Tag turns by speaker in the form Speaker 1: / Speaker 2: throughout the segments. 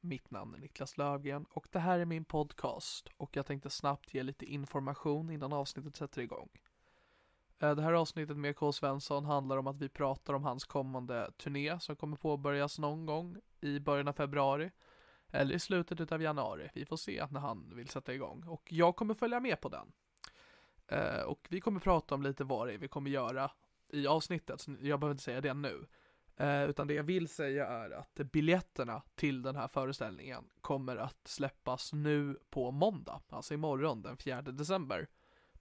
Speaker 1: Mitt namn är Niklas Lövgren och det här är min podcast och jag tänkte snabbt ge lite information innan avsnittet sätter igång. Eh, Det här avsnittet med K. Svensson handlar om att vi pratar om hans kommande turné som kommer påbörjas någon gång i början av februari eller i slutet av januari. Vi får se när han vill sätta igång och jag kommer följa med på den. Eh, Och vi kommer prata om lite vad det är vi kommer göra i avsnittet, så jag behöver inte säga det nu. Eh, utan det jag vill säga är att biljetterna till den här föreställningen kommer att släppas nu på måndag, alltså imorgon den 4 december,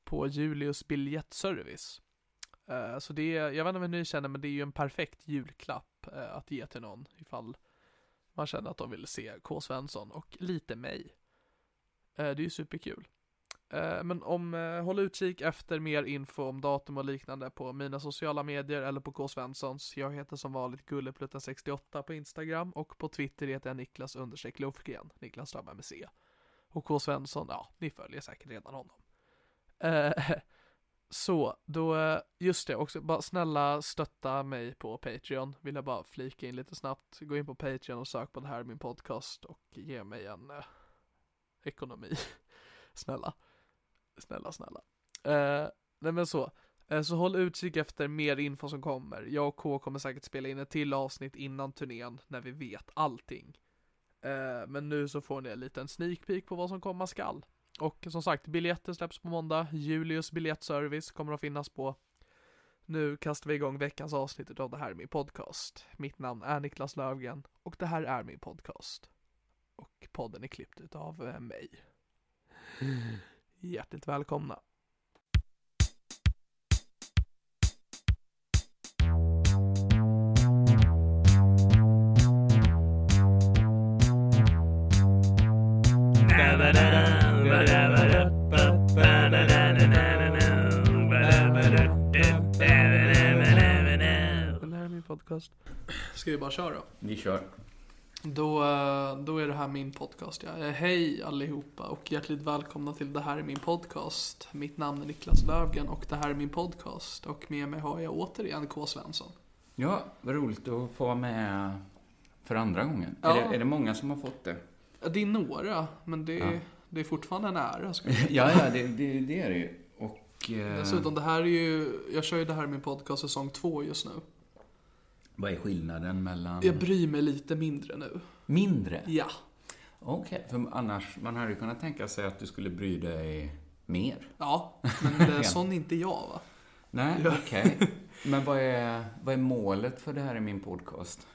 Speaker 1: på Julius biljettservice. Eh, så det är, jag vet inte vad ni känner, men det är ju en perfekt julklapp eh, att ge till någon ifall man känner att de vill se K. Svensson och lite mig. Eh, det är ju superkul. Eh, Men om, eh, håll utkik efter mer info om datum och liknande på mina sociala medier eller på K. Svenssons. Jag heter som vanligt gulleplutta68 på Instagram och på Twitter heter jag Niklas understreck Lofgren, Niklas Strömberg med C. Och K. Svensson, ja, ni följer säkert redan honom. Eh, så, då, eh, just det också, bara snälla stötta mig på Patreon. Vill jag bara flika in lite snabbt. Gå in på Patreon och sök på det här är min podcast och ge mig en eh, ekonomi. snälla snälla, snälla. Eh, nej men så. Eh, så håll utkik efter mer info som kommer. Jag och K kommer säkert spela in ett till avsnitt innan turnén när vi vet allting. Eh, men nu så får ni en liten sneak peek på vad som komma skall. Och som sagt, biljetter släpps på måndag. Julius biljettservice kommer att finnas på. Nu kastar vi igång veckans avsnitt av Det här är min podcast. Mitt namn är Niklas Lövgren och det här är min podcast. Och podden är klippt utav eh, mig. Hjärtligt välkomna. Den här är min podcast. Ska vi bara köra då?
Speaker 2: Vi kör.
Speaker 1: Då, eh, då är det här min podcast. Ja. Eh, Hej allihopa och hjärtligt välkomna till Det här är min podcast. Mitt namn är Niklas Löfgren och det här är min podcast. Och med mig har jag återigen K. Svensson.
Speaker 2: Ja, vad roligt att få vara med för andra gången.
Speaker 1: Ja.
Speaker 2: Är, det, är det många som har fått det?
Speaker 1: Eh, Det är några, men det, det är fortfarande en ära. Ska jag säga.
Speaker 2: Ja, ja det, det, det är det ju. Och... Eh,
Speaker 1: Dessutom, det här är ju, jag kör ju Det här är min podcast säsong två just nu.
Speaker 2: Vad är skillnaden mellan...
Speaker 1: Jag bryr mig lite mindre nu.
Speaker 2: Mindre?
Speaker 1: Ja.
Speaker 2: Okej, för annars, man hade ju kunnat tänka sig att du skulle bry dig mer.
Speaker 1: Ja, men eh, sån är inte jag va.
Speaker 2: Nej, okej. Men vad är, vad är målet för det här i min podcast?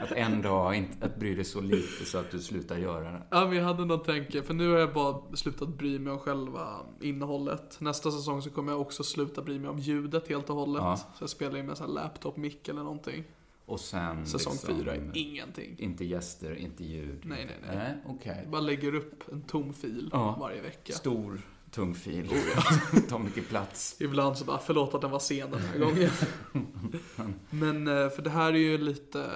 Speaker 2: Att en dag inte, att bry dig så lite så att du slutar göra det.
Speaker 1: Ja men jag hade något tänke, för nu har jag bara slutat bry mig om själva innehållet. Nästa säsong så kommer jag också sluta bry mig om ljudet helt och hållet.
Speaker 2: Ja.
Speaker 1: Så jag spelar in med en sån här laptop-mick eller någonting.
Speaker 2: Och sen
Speaker 1: Säsong
Speaker 2: liksom,
Speaker 1: fyra är ingenting.
Speaker 2: Inte gäster, inte ljud.
Speaker 1: Nej, nej, nej.
Speaker 2: Okej.
Speaker 1: Jag bara lägger upp en tom fil
Speaker 2: Ja.
Speaker 1: varje vecka.
Speaker 2: Stor tung fil. Tar mycket plats.
Speaker 1: Ibland så bara, förlåt att den var sen den här gången. Men eh, för det här är ju lite,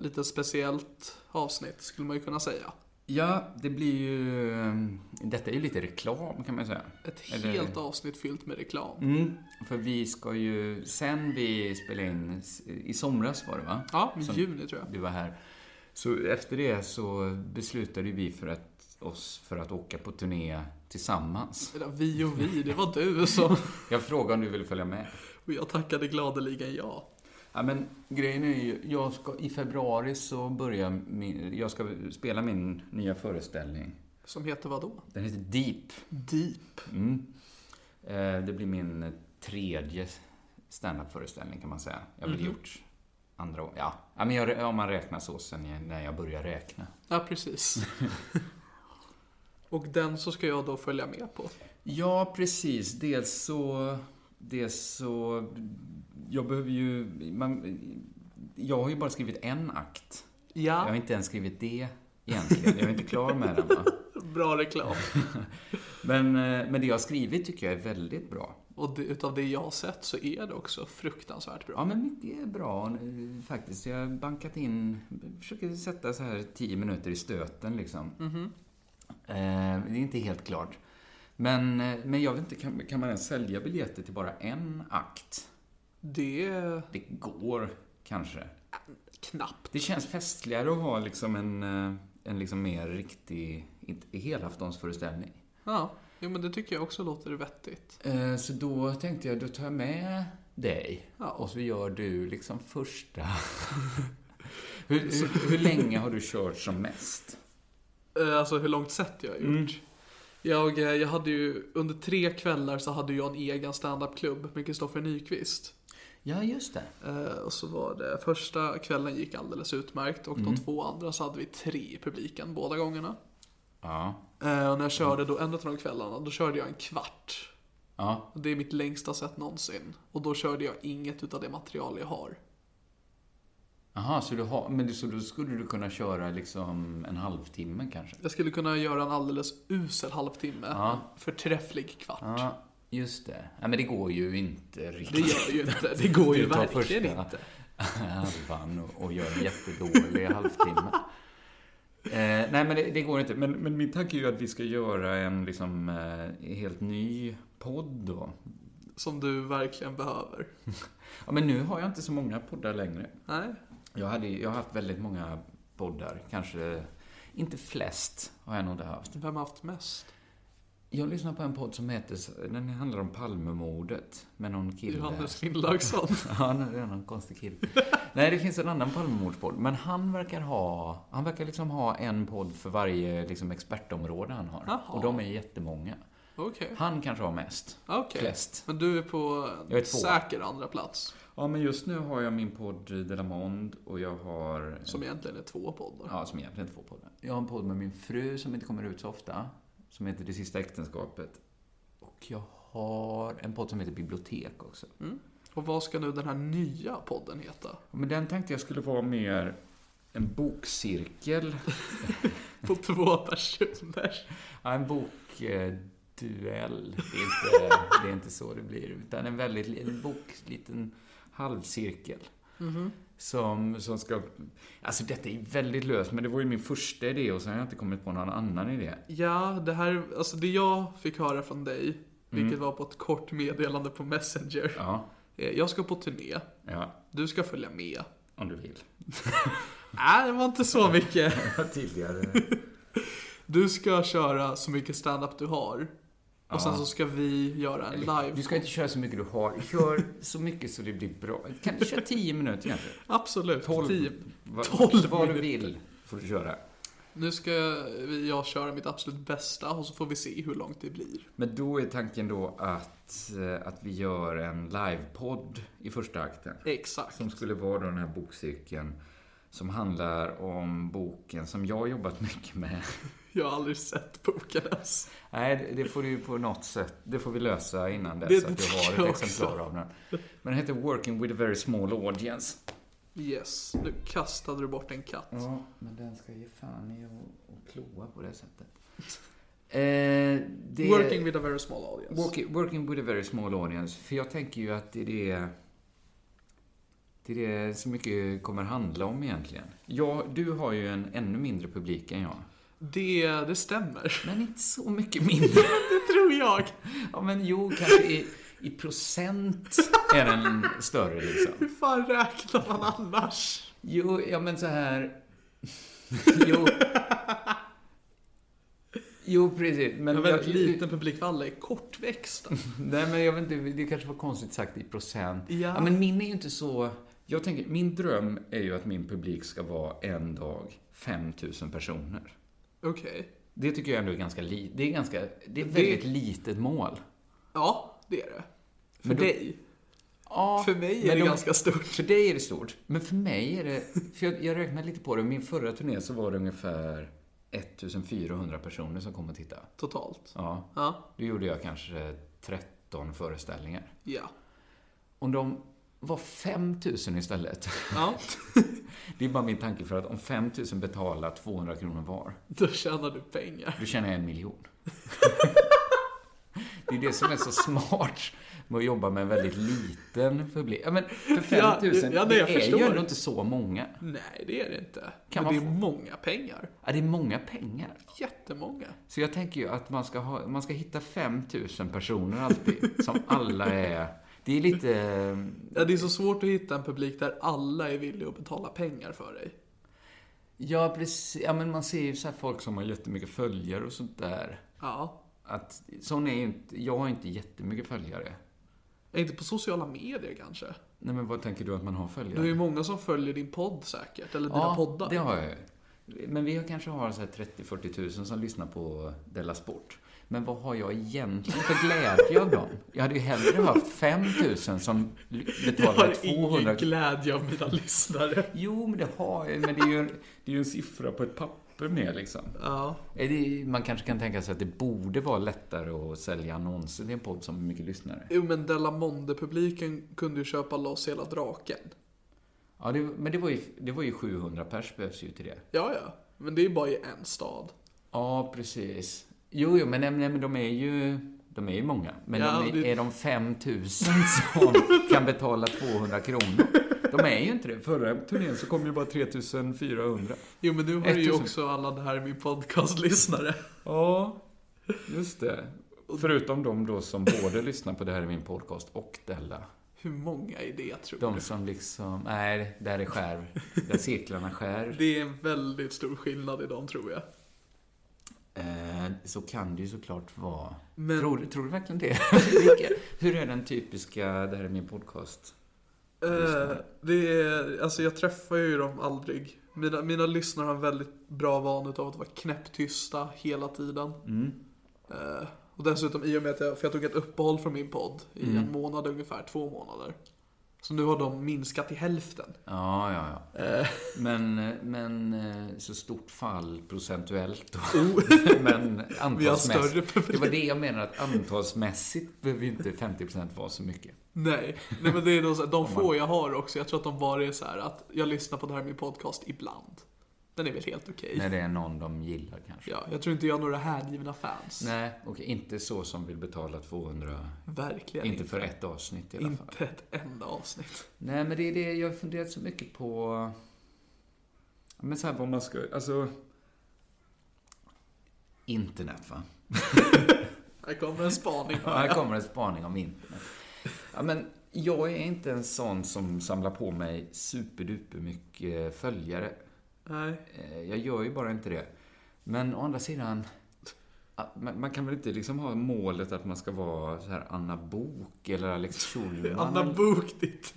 Speaker 1: lite speciellt avsnitt skulle man ju kunna säga.
Speaker 2: Ja, det blir ju... eh, Detta är ju lite reklam kan man säga.
Speaker 1: Ett
Speaker 2: Eller-
Speaker 1: helt avsnitt fyllt med reklam.
Speaker 2: Mm, för vi ska ju, sen vi spelade in, i somras var det va?
Speaker 1: Ja, i
Speaker 2: Som-
Speaker 1: juni tror jag.
Speaker 2: Du var här. Så efter det så beslutade vi för att, oss för att åka på turné tillsammans.
Speaker 1: Eller vi och vi, det var du som...
Speaker 2: Jag frågade om du ville följa med.
Speaker 1: Och jag tackade gladeligen ja.
Speaker 2: Ja, men grejen är ju, jag ska, i februari så börjar min, jag ska spela min nya föreställning.
Speaker 1: Som heter vad då?
Speaker 2: Den heter Deep.
Speaker 1: Deep.
Speaker 2: Mm. Eh, Det blir min tredje standup-föreställning kan man säga. Jag har väl gjort andra år. Ja, ja men jag, om man räknar så sen jag- när jag börjar räkna.
Speaker 1: Ja, precis. och den så ska jag då följa med på.
Speaker 2: Ja, precis. Dels så... Dels så... Jag behöver ju... Man, jag har ju bara skrivit en akt. Jag har
Speaker 1: Ja,
Speaker 2: inte ens skrivit det egentligen. Jag är inte klar med den. Va?
Speaker 1: bra reklam.
Speaker 2: Men, eh, men det jag har skrivit tycker jag är väldigt bra.
Speaker 1: Och det, utav det jag har sett så är det också fruktansvärt bra.
Speaker 2: Ja, men mycket är bra eh, faktiskt. Jag har bankat in, försöker sätta så här 10 minuter i stöten liksom. Eh, det är inte helt klart. Men, eh, men jag vet inte, kan, kan man ens sälja biljetter till bara en akt?
Speaker 1: Det är
Speaker 2: Det går kanske.
Speaker 1: knappt.
Speaker 2: Det känns festligare att ha liksom en, eh, en liksom mer riktig inte- helaftonsföreställning.
Speaker 1: Ja, jo, men det tycker jag också låter vettigt.
Speaker 2: Eh, Så då tänkte jag, då tar jag med dig.
Speaker 1: Ja.
Speaker 2: Och så gör du liksom första. hur, hur, hur länge har du kört som mest?
Speaker 1: Eh, Alltså hur långt sett jag har gjort. Jag, eh, jag hade ju, under tre kvällar så hade jag en egen standupklubb med Kristoffer Nyqvist.
Speaker 2: Ja, just det.
Speaker 1: Eh, Och så var det, första kvällen gick alldeles utmärkt och de två andra så hade vi tre i publiken båda gångerna.
Speaker 2: Ja.
Speaker 1: Eh, Och när jag körde då, en av de kvällarna, då körde jag en kvart.
Speaker 2: Ja.
Speaker 1: Och Det är mitt längsta set någonsin. Och då körde jag inget utav det material jag har.
Speaker 2: Jaha, så, du har, men du- så då skulle du kunna köra liksom en halvtimme kanske?
Speaker 1: Jag skulle kunna göra en alldeles usel halvtimme. Förträfflig kvart.
Speaker 2: Ja, just det. Nej, men det går ju inte
Speaker 1: Det
Speaker 2: riktigt.
Speaker 1: gör ju inte. Det går ju
Speaker 2: Du tar
Speaker 1: verkligen
Speaker 2: första
Speaker 1: inte.
Speaker 2: halvan och, och gör en jättedålig halvtimme. Eh, nej, men det, det går inte. Men, men min tanke är ju att vi ska göra en liksom, eh, helt ny podd då.
Speaker 1: Som du verkligen behöver.
Speaker 2: Ja, men nu har jag inte så många poddar längre.
Speaker 1: Nej.
Speaker 2: Jag, hade, jag har haft väldigt många poddar. Kanske inte flest har jag nog inte haft.
Speaker 1: Vem har haft mest?
Speaker 2: Jag lyssnar på en podd som heter, den handlar om Palmemordet med någon kille.
Speaker 1: Johannes Finnlaugsson.
Speaker 2: Ja, nu är det någon konstig kille. Nej, det finns en annan Palmemordspodd. Men han verkar ha, han verkar liksom ha en podd för varje liksom, expertområde han har.
Speaker 1: Jaha.
Speaker 2: Och de är jättemånga.
Speaker 1: Okej.
Speaker 2: Han kanske har mest.
Speaker 1: Okej.
Speaker 2: Flest.
Speaker 1: Men du är på
Speaker 2: Jag är två.
Speaker 1: säker andra plats.
Speaker 2: Ja, men just nu har jag min podd Delamond och jag har...
Speaker 1: Som egentligen är två poddar.
Speaker 2: Ja, som egentligen är två poddar. Jag har en podd med min fru som inte kommer ut så ofta. Som heter Det sista äktenskapet. Och jag har en podd som heter Bibliotek också.
Speaker 1: Och vad ska nu den här nya podden heta?
Speaker 2: Men den tänkte jag skulle vara mer en bokcirkel.
Speaker 1: På två personer.
Speaker 2: Ja, en bokduell. Det är, inte, det är inte så det blir. Utan en väldigt li- en bok, liten halvcirkel.
Speaker 1: Mm-hmm.
Speaker 2: Som, som ska... Alltså detta är väldigt löst, men det var ju min första idé och sen har jag inte kommit på någon annan idé.
Speaker 1: Ja, det här, alltså det jag fick höra från dig, vilket var på ett kort meddelande på Messenger.
Speaker 2: Mm. Ja,
Speaker 1: Eh, Jag ska på turné,
Speaker 2: ja
Speaker 1: du ska följa med.
Speaker 2: om du vill.
Speaker 1: Nej, det var inte så mycket.
Speaker 2: Tidigare.
Speaker 1: Du ska köra så mycket stand-up du har. Och sen så ska vi göra en live.
Speaker 2: Du ska inte köra så mycket du har. Kör så mycket så det blir bra. Kan du köra 10 minuter kanske?
Speaker 1: Absolut.
Speaker 2: 12.
Speaker 1: Tio.
Speaker 2: Va-
Speaker 1: Tolv
Speaker 2: Vad du
Speaker 1: minuter.
Speaker 2: vill får du köra.
Speaker 1: Nu ska vi- jag köra mitt absolut bästa och så får vi se hur långt det blir.
Speaker 2: Men då är tanken då att, eh, att vi gör en livepodd i första akten.
Speaker 1: Exakt.
Speaker 2: Som skulle vara då den här bokcirkeln som handlar om boken som jag har jobbat mycket med.
Speaker 1: Jag har aldrig sett boken ens.
Speaker 2: Nej, det- det får du ju på något sätt, det får vi lösa innan dess
Speaker 1: Det-
Speaker 2: att
Speaker 1: det
Speaker 2: du
Speaker 1: tycker
Speaker 2: har
Speaker 1: jag
Speaker 2: ett
Speaker 1: också.
Speaker 2: exemplar av den. Men den heter Working with a very small audience.
Speaker 1: Yes, nu kastade du bort en katt.
Speaker 2: Ja, men den ska ge fan i att- att kloa på det sättet. Eh, det-
Speaker 1: Working with a very small audience.
Speaker 2: Work- working with a very small audience. För jag tänker ju att det är det, det, är det så mycket kommer handla om egentligen. Ja, du har ju en ännu mindre publik än jag.
Speaker 1: Det, det stämmer.
Speaker 2: Men inte så mycket mindre.
Speaker 1: Det tror jag.
Speaker 2: Ja, men jo, kanske i, i procent är den större liksom.
Speaker 1: Hur fan räknar man annars?
Speaker 2: Jo, ja men så här... Jo. Jo, precis. Men
Speaker 1: En
Speaker 2: jag,
Speaker 1: väldigt liten publik för alla är kortväxta.
Speaker 2: Nej, men jag vet inte. Det kanske var konstigt sagt i procent.
Speaker 1: Ja.
Speaker 2: men min är ju inte så... Jag tänker, min dröm är ju att min publik ska vara en dag 5000 personer.
Speaker 1: Okej.
Speaker 2: Det tycker jag ändå är ganska lite. Det är ganska... Det är ett väldigt litet mål.
Speaker 1: Ja, det är det. För
Speaker 2: Men då-
Speaker 1: dig.
Speaker 2: Ja,
Speaker 1: För mig är
Speaker 2: men
Speaker 1: det
Speaker 2: de-
Speaker 1: ganska stort.
Speaker 2: För dig är det stort. Men för mig är det... För jag, jag räknade lite på det. Min förra turné så var det ungefär 1400 personer som kom och tittade.
Speaker 1: Totalt.
Speaker 2: Ja.
Speaker 1: Ja.
Speaker 2: Då gjorde jag kanske 13 föreställningar.
Speaker 1: Ja.
Speaker 2: Om de var 5000 istället.
Speaker 1: ja.
Speaker 2: Det är bara min tanke för att om 5000 betalar 200 kronor var,
Speaker 1: Då tjänar du pengar.
Speaker 2: då tjänar jag en miljon. Det är det som är så smart med att jobba med en väldigt liten publik. Ja, men för 5000,
Speaker 1: Ja, ja, nej,
Speaker 2: det
Speaker 1: jag
Speaker 2: är
Speaker 1: förstår.
Speaker 2: ju ändå inte så många.
Speaker 1: Nej, det är det inte. Men
Speaker 2: Kan man
Speaker 1: det är många pengar.
Speaker 2: Ja, det är många pengar.
Speaker 1: Jättemånga.
Speaker 2: Så jag tänker ju att man ska, ha, man ska hitta 5000 personer alltid, som alla är... Det är lite...
Speaker 1: Ja, det är så svårt att hitta en publik där alla är villiga att betala pengar för dig.
Speaker 2: Ja, precis. Ja, men man ser ju så här folk som har jättemycket följare och sånt där.
Speaker 1: Ja.
Speaker 2: Att, sån är ju inte, jag har inte jättemycket följare.
Speaker 1: Inte på sociala medier kanske.
Speaker 2: Nej, men vad tänker du att man har
Speaker 1: Du har
Speaker 2: följare?
Speaker 1: ju många som följer din podd säkert, eller dina
Speaker 2: ja,
Speaker 1: poddar.
Speaker 2: det har jag ju. Men vi har kanske har så här 30-40 tusen som lyssnar på Della Sport. Men vad har jag egentligen för glädje av dem? Jag hade ju hellre haft 5 000 som ly-
Speaker 1: Jag
Speaker 2: betalade
Speaker 1: har ingen
Speaker 2: 200
Speaker 1: glädje av mina lyssnare.
Speaker 2: Jo, men det har jag Men det är ju en, det är ju en siffra på ett papper mer liksom.
Speaker 1: Ja.
Speaker 2: Är det, man kanske kan tänka sig att det borde vara lättare att sälja annonser till en podd som har mycket lyssnare.
Speaker 1: Jo, men Della Monde-publiken kunde ju köpa loss hela draken.
Speaker 2: Ja, det, men det var, ju, det var ju 700 pers behövs ju till det.
Speaker 1: Ja, ja. Men det är ju bara i en stad.
Speaker 2: Ja, precis. Jo, jo men, nej, nej, men de är ju... De är ju många. Men
Speaker 1: Ja,
Speaker 2: de är,
Speaker 1: det-
Speaker 2: är de 5000 som kan betala 200 kronor? De är ju inte det. Förra turnén så kom ju bara 3400.
Speaker 1: Jo, men nu har du ju
Speaker 2: 1000.
Speaker 1: också alla det här min podcast-lyssnare.
Speaker 2: Ja, just det. Förutom de då som både lyssnar på det här i min podcast och Della.
Speaker 1: Hur många är det, tror du?
Speaker 2: De som liksom... Nej, där är skär. Där cirklarna skär.
Speaker 1: Det är en väldigt stor skillnad i dem, tror jag.
Speaker 2: Eh, så kan det ju såklart vara.
Speaker 1: Men-
Speaker 2: Tror, du- tror du verkligen det? Vilka- Hur är den typiska, det här är min podcast?
Speaker 1: Eh, det är, alltså jag träffar ju dem aldrig. Mina, mina lyssnare har en väldigt bra vana av att vara knäpptysta hela tiden.
Speaker 2: Mm.
Speaker 1: Eh, och dessutom i och med att jag, för jag tog ett uppehåll från min podd i
Speaker 2: Mm.
Speaker 1: en månad ungefär, två månader. Så nu har de minskat till hälften.
Speaker 2: Ja, ja, ja. Men, men eh, så stort fall procentuellt då. men
Speaker 1: Vi har
Speaker 2: antalsmässigt.
Speaker 1: större publik.
Speaker 2: Det var det jag menar att antalsmässigt behöver ju inte 50% vara så mycket.
Speaker 1: Nej, nej men det är då så här, de få jag har också, jag tror att de bara är så här att jag lyssnar på det här i min podcast ibland. Den är väl helt okej.
Speaker 2: När det är någon de gillar kanske.
Speaker 1: Ja, jag tror inte jag har några hängivna fans.
Speaker 2: Nej, och inte så som vill betala 200.
Speaker 1: Verkligen
Speaker 2: Inte för ett avsnitt i alla fall.
Speaker 1: Inte ett enda avsnitt.
Speaker 2: Nej, men det är det jag har funderat så mycket på. Ja, Men så här vad man ska, alltså... Internet, va?
Speaker 1: Här kommer en spaning.
Speaker 2: Ja, här kommer en spaning om internet. Ja, men jag är inte en sån som samlar på mig superduper mycket följare.
Speaker 1: Nej.
Speaker 2: Eh, Jag gör ju bara inte det. Men å andra sidan, att man man kan väl inte liksom ha målet att man ska vara så här Anna Bok eller Alex Schulman?
Speaker 1: Anna Bok ditt,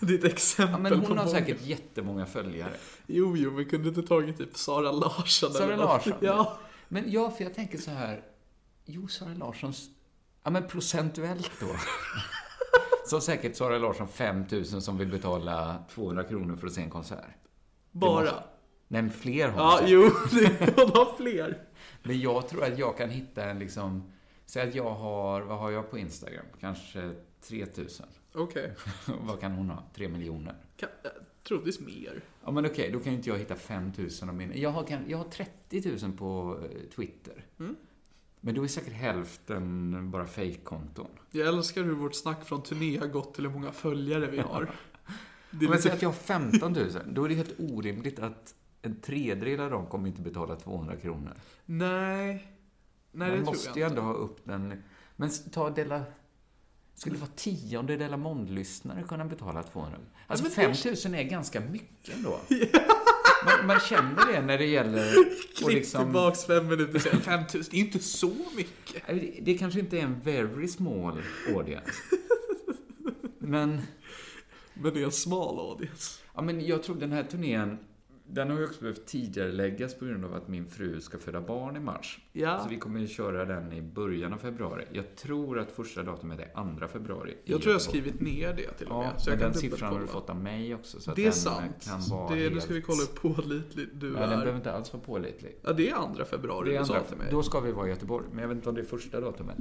Speaker 1: ditt exempel
Speaker 2: Ja, men
Speaker 1: på
Speaker 2: hon har
Speaker 1: många.
Speaker 2: säkert jättemånga följare.
Speaker 1: Jo, jo, men kunde inte tagit typ Sara Larsson
Speaker 2: Sara
Speaker 1: eller något?
Speaker 2: Larsson?
Speaker 1: Ja.
Speaker 2: Men ja, för jag tänker så här. Jo, Sara Larssons... Ja, men procentuellt då. Som säkert Sara Larsson 5000 som vill betala 200 kronor för att se en konsert.
Speaker 1: Bara.
Speaker 2: Nej, men fler har
Speaker 1: Ja,
Speaker 2: säkert.
Speaker 1: jo, det- hon har fler.
Speaker 2: Men jag tror att jag kan hitta en liksom... Säg att jag har... Vad har jag på Instagram? Kanske 3000.
Speaker 1: Okej.
Speaker 2: vad kan hon ha? 3 miljoner.
Speaker 1: Kan- eh, Troligtvis mer.
Speaker 2: Ja, men okej, då kan
Speaker 1: Mm.
Speaker 2: ju inte jag hitta 5000 av min... Jag har, kan, jag har 30 000 på eh, Twitter. Men då är säkert hälften bara fejkkonton.
Speaker 1: Jag älskar hur vårt snack från turné har gått till hur många följare vi har. Det är
Speaker 2: Om jag
Speaker 1: lite
Speaker 2: säger att jag har 15 000, då är det helt orimligt att en tredjedel av dem kommer inte betala 200 kronor.
Speaker 1: Nej. Nej,
Speaker 2: Man
Speaker 1: det
Speaker 2: måste
Speaker 1: tror
Speaker 2: ju
Speaker 1: jag
Speaker 2: ändå
Speaker 1: inte.
Speaker 2: ha upp den. Men s- ta Della... Skulle vara tionde Della Mond-lyssnare kunna betala 200? Alltså
Speaker 1: men det är-
Speaker 2: 5 000 är ganska mycket ändå. Man, man känner det när det gäller... Och
Speaker 1: Klipp
Speaker 2: liksom,
Speaker 1: tillbaks fem minuter sen. 5000, det är ju inte så mycket.
Speaker 2: det, det kanske inte är en very small audience. Men...
Speaker 1: Men det är en smal audience.
Speaker 2: Ja, men jag tror den här turnén, den har ju också behövt tidigare läggas på grund av att min fru ska föda barn i mars.
Speaker 1: Ja.
Speaker 2: Så vi kommer ju köra den i början av februari. Jag tror att första datumet är andra februari. i
Speaker 1: Jag tror jag har
Speaker 2: Göteborg.
Speaker 1: skrivit ner det till och med.
Speaker 2: Ja,
Speaker 1: så jag
Speaker 2: men
Speaker 1: kan
Speaker 2: den siffran har du
Speaker 1: dubbelkolla.
Speaker 2: fått av mig också. Så att
Speaker 1: Det är
Speaker 2: den
Speaker 1: sant.
Speaker 2: Kan vara
Speaker 1: Det,
Speaker 2: helt...
Speaker 1: nu ska vi kolla hur pålitlig du
Speaker 2: Nej, den
Speaker 1: är.
Speaker 2: behöver inte alls vara pålitlig.
Speaker 1: Ja, det är andra februari
Speaker 2: Det är
Speaker 1: du sa
Speaker 2: andra,
Speaker 1: till mig.
Speaker 2: då ska vi vara i Göteborg, men jag vet inte om det är första datumet.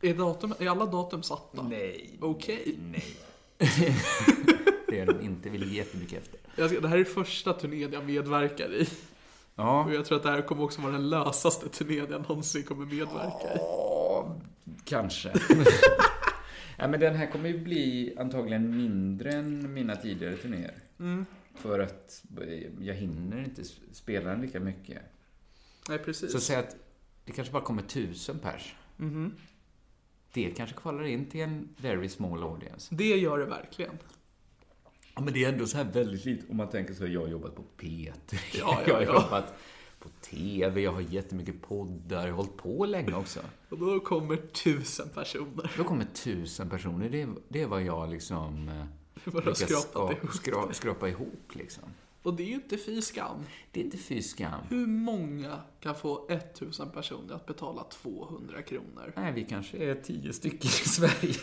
Speaker 1: Är, datum, är alla datum satta?
Speaker 2: Nej.
Speaker 1: Okej.
Speaker 2: Nej. det är de inte, vill ge jättemycket efter.
Speaker 1: Jag ska- Det här är första turnén jag medverkar i.
Speaker 2: Ja.
Speaker 1: Och jag tror att det här kommer också vara den lösaste turnén jag någonsin kommer medverka i.
Speaker 2: Ja, kanske. ja, men den här kommer ju bli antagligen mindre än mina tidigare turnéer. För att eh, jag hinner inte s- spela den lika mycket.
Speaker 1: Nej, precis.
Speaker 2: Så säg att det kanske bara kommer tusen pers. Det kanske kvalar in till en very small audience.
Speaker 1: Det gör det verkligen.
Speaker 2: Ja, men det är ändå så här väldigt lite. Om man tänker så, jag har jobbat på P3,
Speaker 1: Ja, ja,
Speaker 2: jag har
Speaker 1: ja.
Speaker 2: jobbat på TV, jag har jättemycket poddar, jag har hållit på länge också.
Speaker 1: Och då kommer tusen personer.
Speaker 2: Då kommer tusen personer. Det, är- det är vad jag liksom eh,
Speaker 1: Vad du har skrapat
Speaker 2: ska-
Speaker 1: ihop.
Speaker 2: skra, skrapa ihop. Liksom.
Speaker 1: Och det är ju inte fy skam.
Speaker 2: Det är inte fy skam.
Speaker 1: Hur många kan få 1000 personer att betala 200 kronor?
Speaker 2: Nej, vi kanske är tio stycken i Sverige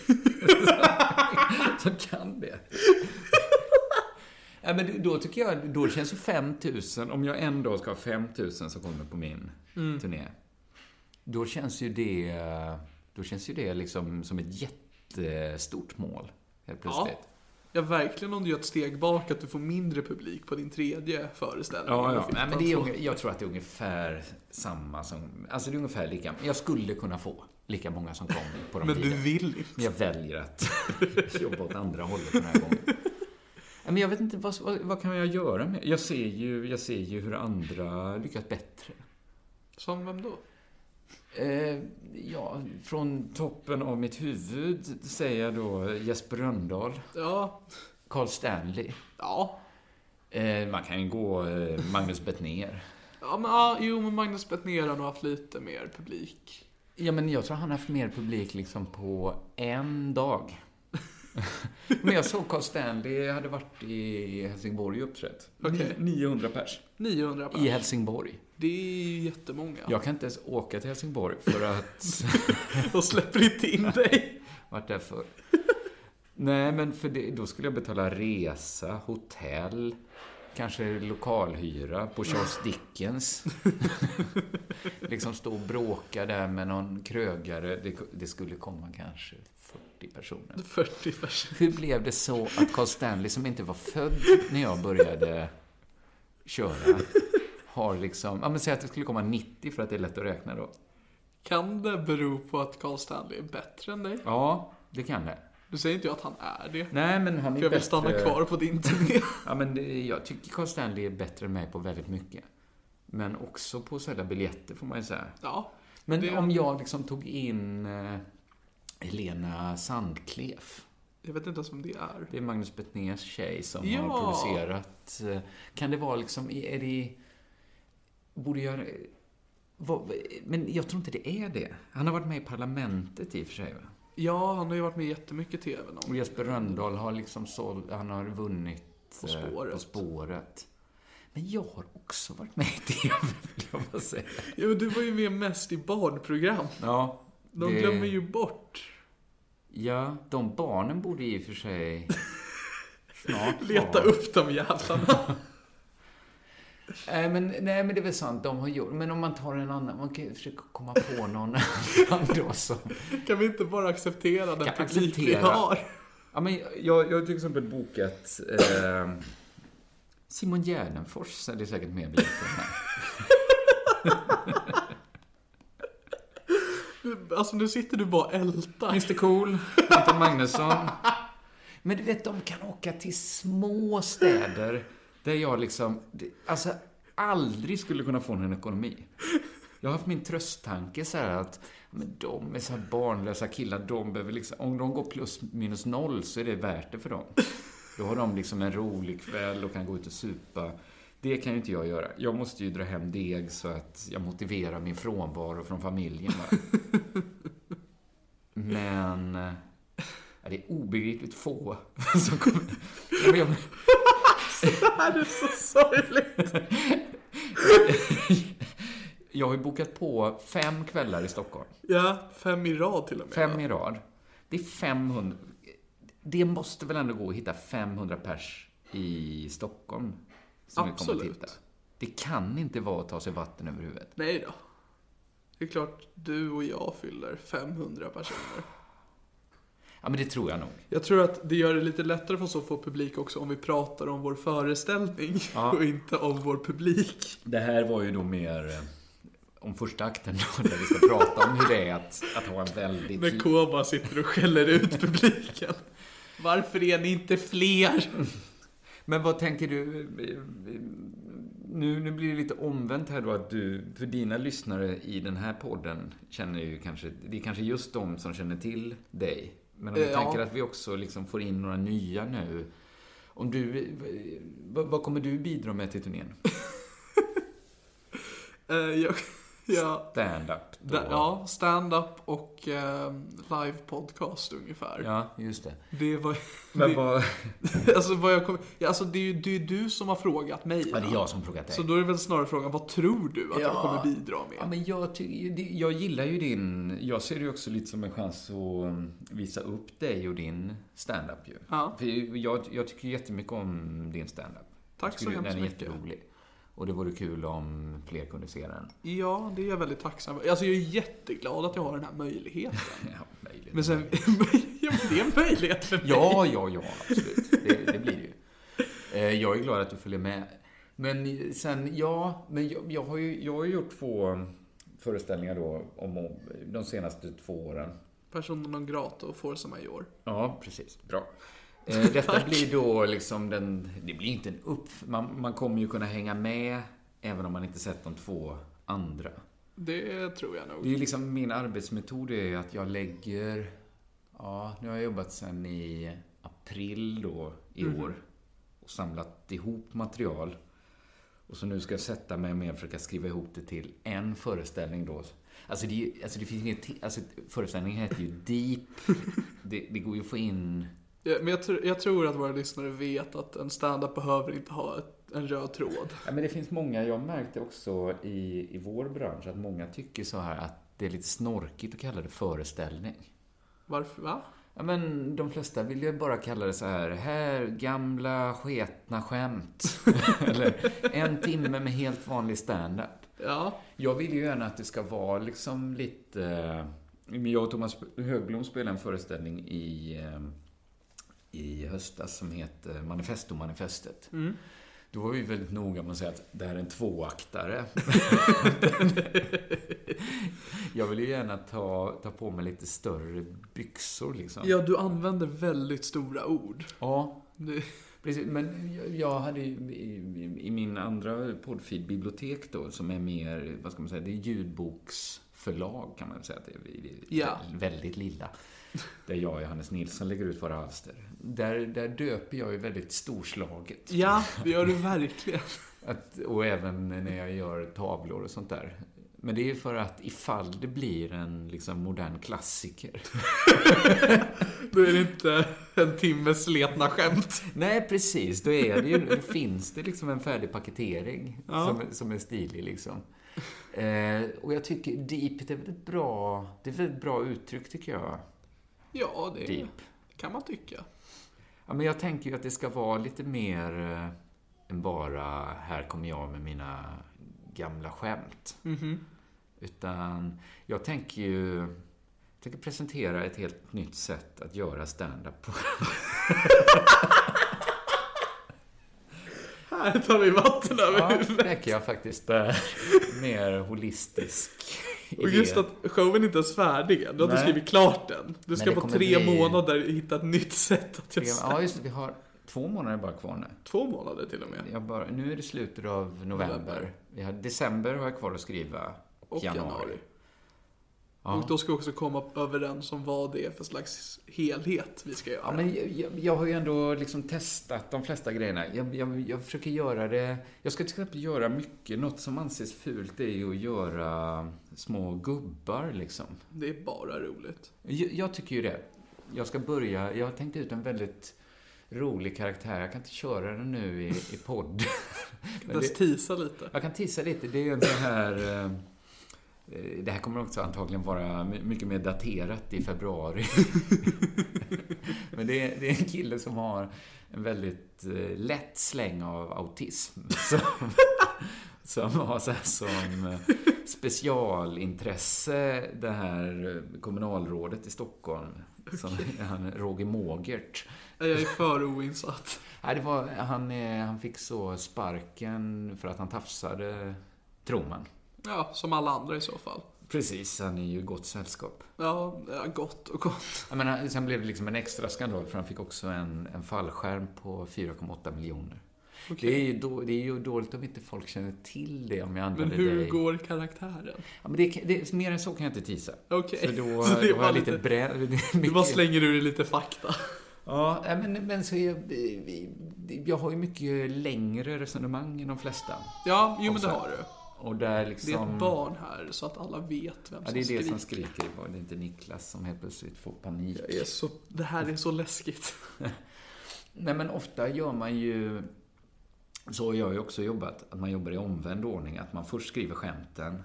Speaker 2: som kan det. Ja, men då tycker jag, då känns ju 5 000, om jag en dag ska ha 5 000 som kommer på min
Speaker 1: Mm.
Speaker 2: turné, då känns ju det, då känns ju det liksom som ett jättestort mål, helt plötsligt.
Speaker 1: Ja, verkligen om du gör ett steg bak att du får mindre publik på din tredje föreställning.
Speaker 2: Ja, ja.
Speaker 1: Då fick
Speaker 2: Nej, men
Speaker 1: man
Speaker 2: det är,
Speaker 1: två-
Speaker 2: unge- jag tror att det är ungefär samma som... Alltså det är ungefär lika... Jag skulle kunna få lika många som kom på de
Speaker 1: Men du
Speaker 2: tiderna.
Speaker 1: vill inte.
Speaker 2: Men jag väljer att jobba åt andra hållet den här gången. Nej, Men jag vet inte, vad, vad, vad kan jag göra med... Jag ser, ju, jag ser ju hur andra lyckas bättre.
Speaker 1: Som vem då?
Speaker 2: Eh, ja, från toppen av mitt huvud säger jag då Jesper Rönndahl,
Speaker 1: Ja,
Speaker 2: Carl Stanley.
Speaker 1: ja.
Speaker 2: Eh, man kan ju gå eh, Magnus Bettner.
Speaker 1: ja men, ja jo, men Magnus Bettner har nog haft lite mer publik.
Speaker 2: Ja, men jag tror han har haft mer publik liksom på en dag. men jag såg Carl Stanley hade varit i Helsingborg och uppträtt.
Speaker 1: Okej.
Speaker 2: Ni- 900 pers.
Speaker 1: 900
Speaker 2: I
Speaker 1: personer.
Speaker 2: Helsingborg.
Speaker 1: Det är ju jättemånga.
Speaker 2: Jag kan inte ens åka till Helsingborg för att...
Speaker 1: De släpper inte in dig.
Speaker 2: varit där förr. Nej, men för det, då skulle jag betala resa, hotell, kanske lokalhyra på Charles Dickens. liksom stå och bråka där med någon krögare. Det, det skulle komma kanske 40 personer.
Speaker 1: 40 personer.
Speaker 2: Hur blev det så att Carl Stanley, som inte var född när jag började köra, har liksom... Ja, men säg att det skulle komma 90 för att det är lätt att räkna då.
Speaker 1: Kan det bero på att Carl Stanley är bättre än dig?
Speaker 2: Ja, det kan det.
Speaker 1: Du säger inte jag att han är det.
Speaker 2: Nej, men han är
Speaker 1: För jag vill
Speaker 2: bättre-
Speaker 1: stanna kvar på din turné.
Speaker 2: Ja, men det, jag tycker Carl Stanley är bättre än mig på väldigt mycket. Men också på att sälja biljetter, får man ju säga.
Speaker 1: Ja.
Speaker 2: Men
Speaker 1: det-
Speaker 2: om jag liksom tog in eh, Helena Sandklef.
Speaker 1: Jag vet inte ens vem det är.
Speaker 2: Det är Magnus Betnérs tjej som
Speaker 1: Ja.
Speaker 2: har producerat. eh, Kan det vara liksom, är det... Borde jag... eh, Vad, men jag tror inte det är det. Han har varit med i Parlamentet i och för sig, va?
Speaker 1: Ja, han har ju varit med i jättemycket i TV
Speaker 2: Och
Speaker 1: någon.
Speaker 2: Jesper Rönndahl har liksom såld, han har vunnit
Speaker 1: På
Speaker 2: eh,
Speaker 1: spåret.
Speaker 2: på spåret. Men jag har också varit med i TV, vill jag bara säga.
Speaker 1: Ja, men du var ju med mest i barnprogram.
Speaker 2: Ja,
Speaker 1: De
Speaker 2: det-
Speaker 1: glömmer ju bort.
Speaker 2: Ja, de barnen borde i och för sig snart
Speaker 1: Leta
Speaker 2: vara-
Speaker 1: upp de jävlarna.
Speaker 2: Nej Eh, men, nej, men det är väl sant. De har gjort... Men om man tar en annan... Man kan ju försöka komma på någon annan då som...
Speaker 1: Kan vi inte bara acceptera den
Speaker 2: Jag
Speaker 1: publik vi
Speaker 2: accepterar.
Speaker 1: har?
Speaker 2: Ja, men jag, jag har till exempel bokat eh, Simon Gärdenfors säljer säkert mer biljetter än mig.
Speaker 1: alltså nu sitter du bara och ältar.
Speaker 2: Mr Cool, Anton Magnusson. Men du vet, de kan åka till små städer där jag liksom, alltså aldrig skulle kunna få någon ekonomi. Jag har haft min trösttanke så här att men de är så här barnlösa killar, de behöver liksom, om de går plus minus noll så är det värt det för dem. Då har de liksom en rolig kväll och kan gå ut och supa. Det kan ju inte jag göra. Jag måste ju dra hem deg så att jag motiverar min frånvaro från familjen bara. Men... eh, Ja, det är obegripligt få som kommer... Ja, men jag,
Speaker 1: Det här är så sorgligt.
Speaker 2: jag har ju bokat på fem kvällar i Stockholm.
Speaker 1: Ja, fem i rad till och med.
Speaker 2: Fem i rad. Det är 500... Det måste väl ändå gå att hitta 500 pers i Stockholm som vill komma och
Speaker 1: Absolut.
Speaker 2: titta? Det kan inte vara att ta sig vatten över huvudet.
Speaker 1: Nej då. Det är klart du och jag fyller 500 personer.
Speaker 2: Ja, men det tror jag nog.
Speaker 1: Jag tror att det gör det lite lättare för oss att få publik också om vi pratar om vår föreställning och inte om vår publik.
Speaker 2: Det här var ju då mer eh, om första akten då, där vi ska prata om hur det är att, att ha en väldigt...
Speaker 1: När K bara sitter och skäller ut publiken. Varför är ni inte fler?
Speaker 2: Men vad tänker du? Nu, nu blir det lite omvänt här då att du, för dina lyssnare i den här podden känner ju kanske, det är kanske just de som känner till dig. Men om vi
Speaker 1: Eh, ja.
Speaker 2: tänker att vi också liksom får in några nya nu. Om du, vad, vad kommer du bidra med till turnén?
Speaker 1: Eh, jag, jag,
Speaker 2: Stand-up då?
Speaker 1: da, ja, stand-up och eh, live-podcast ungefär.
Speaker 2: Ja, just det.
Speaker 1: Det var...
Speaker 2: Men
Speaker 1: det,
Speaker 2: vad...
Speaker 1: Alltså, vad jag kom, ja, alltså det är ju det är ju du som har frågat mig.
Speaker 2: Ja, det är jag som frågat dig.
Speaker 1: Så då är det väl snarare frågan, vad tror du att jag kommer bidra med?
Speaker 2: Ja, men jag, ty- det- jag gillar ju din... Jag ser det ju också lite som en chans att visa upp dig och din standup ju.
Speaker 1: Ja.
Speaker 2: För jag, jag tycker ju jättemycket om din standup.
Speaker 1: Tack
Speaker 2: Jag
Speaker 1: så
Speaker 2: tycker
Speaker 1: hemskt
Speaker 2: Den är
Speaker 1: mycket.
Speaker 2: jätterolig. Och det vore kul om fler kunde se den.
Speaker 1: Ja, det är jag väldigt tacksam för. Alltså jag är jätteglad att jag har den här möjligheten.
Speaker 2: Ja, möjligt.
Speaker 1: Men sen, ja, men det är en möjlighet för mig.
Speaker 2: Ja, ja, ja, absolut. Det, det blir det ju. Eh, Jag är glad att du följer med. Men sen, ja, men jag, jag, har, ju, jag har ju gjort två föreställningar då om de senaste två åren.
Speaker 1: Personen non grata och Forza Major.
Speaker 2: Ja, precis. Bra. Eh, Detta blir då liksom den... Det blir inte en upp... Man, man kommer ju kunna hänga med även om man inte sett de två andra.
Speaker 1: Det tror jag
Speaker 2: Det
Speaker 1: nog.
Speaker 2: är ju liksom min arbetsmetod är ju att jag lägger... Ja, nu har jag jobbat sen i april då i år och samlat ihop material. Och så nu ska jag sätta mig med och försöka skriva ihop det till en föreställning då. Alltså det, är ju- alltså det finns inget... te- Alltså föreställningen heter ju Deep. Det, det går ju att få in...
Speaker 1: Ja, Men jag, tr- jag tror att våra lyssnare vet att en stand-up behöver inte ha ett, en röd tråd.
Speaker 2: Ja, men det finns många, jag märkte också i, i vår bransch att många tycker så här att det är lite snorkigt att kalla det föreställning.
Speaker 1: Varför? Va?
Speaker 2: Ja, men de flesta vill ju bara kalla det så här, här gamla sketna skämt. Eller en timme med helt vanlig stand-up.
Speaker 1: Ja.
Speaker 2: Jag vill ju gärna att det ska vara liksom lite... eh, men Jag och Thomas Högblom spelade en föreställning i, eh, i höstas som heter Manifesto-manifestet. Då var vi väldigt noga med att säga att det här är en tvåaktare. jag vill ju gärna ta, ta på mig lite större byxor liksom.
Speaker 1: Ja, du använder väldigt stora ord.
Speaker 2: ja
Speaker 1: Du,
Speaker 2: Precis, men jag- jag hade ju i, i- i min andra poddfeed, Bibliotek då, som är mer, vad ska man säga, det är ljudboksförlag kan man väl säga att det är. Vi- vi-
Speaker 1: Ja.
Speaker 2: Väldigt lilla. Där jag och Johannes Nilsson lägger ut våra alster. Där, där döper jag ju väldigt storslaget.
Speaker 1: ja, det gör du verkligen.
Speaker 2: Att, och även när jag gör tavlor och sånt där. Men det är ju för att ifall det blir en liksom modern klassiker.
Speaker 1: Då är det inte en timmes sletna skämt.
Speaker 2: Nej, precis. Då, är det ju, då finns det liksom en färdig paketering som, som är stilig. Liksom. Eh, och jag tycker deep, det är väl ett bra, det är väl ett bra uttryck tycker jag.
Speaker 1: Ja, det
Speaker 2: Deep.
Speaker 1: kan man tycka.
Speaker 2: Ja, men jag tänker ju att det ska vara lite mer eh, än bara här kommer jag med mina gamla skämt.
Speaker 1: Mhm.
Speaker 2: Utan jag tänker ju jag tänker presentera ett helt nytt sätt att göra stand-up på.
Speaker 1: Här tar vi vatten över
Speaker 2: Ja,
Speaker 1: huvudet.
Speaker 2: tänker jag faktiskt eh, mer holistisk
Speaker 1: Och just att showen inte ens färdig än. Du har inte
Speaker 2: Nej.
Speaker 1: skrivit klart den. Du ska
Speaker 2: det
Speaker 1: på
Speaker 2: kommer
Speaker 1: tre
Speaker 2: bli-
Speaker 1: månader hitta ett nytt sätt att göra
Speaker 2: Ja, just det. Vi har två månader bara kvar nu.
Speaker 1: Två månader till och med.
Speaker 2: Jag bara, nu är det slutet av november. Vi har, december har jag kvar att skriva.
Speaker 1: Och januari.
Speaker 2: Ja.
Speaker 1: Och då ska vi också komma överens om vad det är för slags helhet vi ska göra.
Speaker 2: Ja, men jag, jag, jag har ju ändå liksom testat de flesta grejerna. Jag, jag, jag försöker göra det... Jag ska till exempel göra mycket. Något som anses fult är ju att göra små gubbar, liksom.
Speaker 1: Det är bara roligt.
Speaker 2: Jag, jag tycker ju det. Jag ska börja... Jag har tänkt ut en väldigt rolig karaktär. Jag kan inte köra den nu i, i podd. Men
Speaker 1: Dess
Speaker 2: det-
Speaker 1: tisa lite.
Speaker 2: Jag kan tissa lite. Det är ju en sån här... eh, eh, Det här kommer också antagligen vara my- mycket mer daterat i februari. Men det är, det är en kille som har en väldigt eh, lätt släng av autism. Som, som har så här som eh, specialintresse det här eh, kommunalrådet i Stockholm. Som, han, Roger Mågert.
Speaker 1: Nej, Jag är för oinsatt.
Speaker 2: Nej, det var, han, eh, han fick så sparken för att han tafsade, tror man.
Speaker 1: Ja, som alla andra i så fall.
Speaker 2: Precis, han är ju i gott sällskap.
Speaker 1: Ja, ja, gott och gott.
Speaker 2: Jag menar, sen blev det liksom en extra skandal för han fick också en, en fallskärm på 4,8 miljoner. Det, är ju då, det är ju dåligt om inte folk känner till det om
Speaker 1: Men
Speaker 2: jag använder
Speaker 1: hur
Speaker 2: dig.
Speaker 1: går karaktären?
Speaker 2: Ja, men det, det, mer än så kan jag inte tisa.
Speaker 1: Okej.
Speaker 2: För då,
Speaker 1: Så det
Speaker 2: då har
Speaker 1: var
Speaker 2: jag lite
Speaker 1: lite-
Speaker 2: bränd...
Speaker 1: Du bara slänger ur dig lite fakta.
Speaker 2: Ja, nej, men, men så är jag, jag har ju mycket längre resonemang än de flesta.
Speaker 1: Ja, jo men det
Speaker 2: så här,
Speaker 1: har du.
Speaker 2: Och där
Speaker 1: Det är
Speaker 2: liksom...
Speaker 1: ett barn här, så att alla vet vem som
Speaker 2: Ja, det är det
Speaker 1: skriker.
Speaker 2: som skriker i barn. Det är inte Niklas som helt plötsligt får panik.
Speaker 1: Jag är så, det här är så läskigt.
Speaker 2: Nej, men ofta gör man ju... Så har jag ju också jobbat, att man jobbar i omvänd ordning. Att man först skriver skämten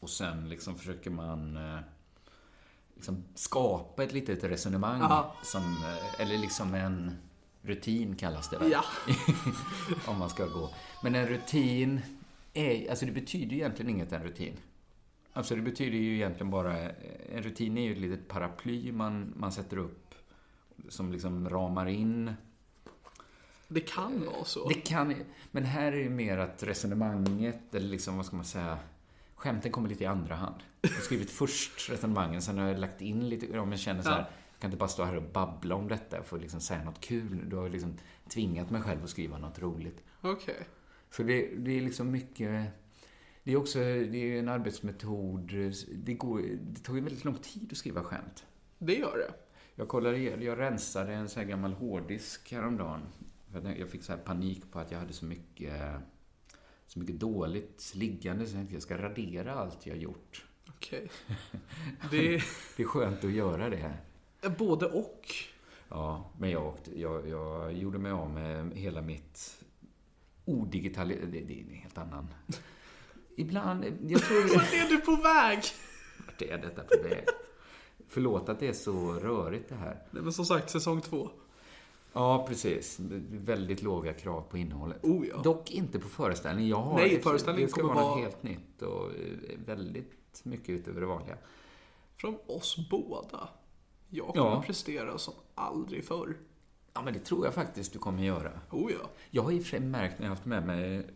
Speaker 2: och sen liksom försöker man eh, liksom skapa ett litet resonemang.
Speaker 1: Ja.
Speaker 2: Som, eh, eller liksom en rutin kallas det väl?
Speaker 1: Ja.
Speaker 2: Om man ska gå. Men en rutin, är, alltså det betyder ju egentligen inget, en rutin. Alltså det betyder ju egentligen bara, eh, en rutin är ju ett litet paraply man, man sätter upp som liksom ramar in
Speaker 1: Det kan vara så.
Speaker 2: det kan Men här är ju mer att resonemanget, eller liksom, vad ska man säga, skämten kommer lite i andra hand. Jag har skrivit först resonemangen, sen har jag lagt in lite, om jag känner så här,
Speaker 1: Ja.
Speaker 2: jag kan inte bara stå här och babbla om detta, jag får liksom säga något kul. Då har jag liksom tvingat mig själv att skriva något roligt.
Speaker 1: Okej.
Speaker 2: Så det, det är liksom mycket... Det är också det är en arbetsmetod. Det, går, det tar ju väldigt lång tid att skriva skämt.
Speaker 1: Det gör det.
Speaker 2: Jag kollade igen, jag rensade en sån här gammal hårddisk häromdagen. För att Jag fick så här panik på att jag hade så mycket, så mycket dåligt liggande så jag tänkte jag ska radera allt jag gjort.
Speaker 1: Okej. Det
Speaker 2: Det är skönt att göra det.
Speaker 1: är Eh, både och.
Speaker 2: Ja, men jag, åkte, jag, jag gjorde mig av med hela mitt odigitala... Det, det är en helt annan... Ibland... Jag tror...
Speaker 1: Vart är du på väg?
Speaker 2: Vart är detta på väg? Förlåt att det är så rörigt det här.
Speaker 1: Nej men som sagt, säsong två.
Speaker 2: Ja, precis. Väldigt låga krav på innehållet.
Speaker 1: Oh, ja.
Speaker 2: Dock inte på föreställning. Jag har
Speaker 1: Nej, föreställningen
Speaker 2: det ska
Speaker 1: kommer
Speaker 2: vara något
Speaker 1: vara-
Speaker 2: helt nytt och eh, väldigt mycket utöver det vanliga.
Speaker 1: Från oss båda. Jag kommer
Speaker 2: Ja.
Speaker 1: prestera som aldrig förr.
Speaker 2: Ja, men det tror jag faktiskt du kommer göra.
Speaker 1: Oh ja.
Speaker 2: Jag har i och för sig märkt när jag har haft med mig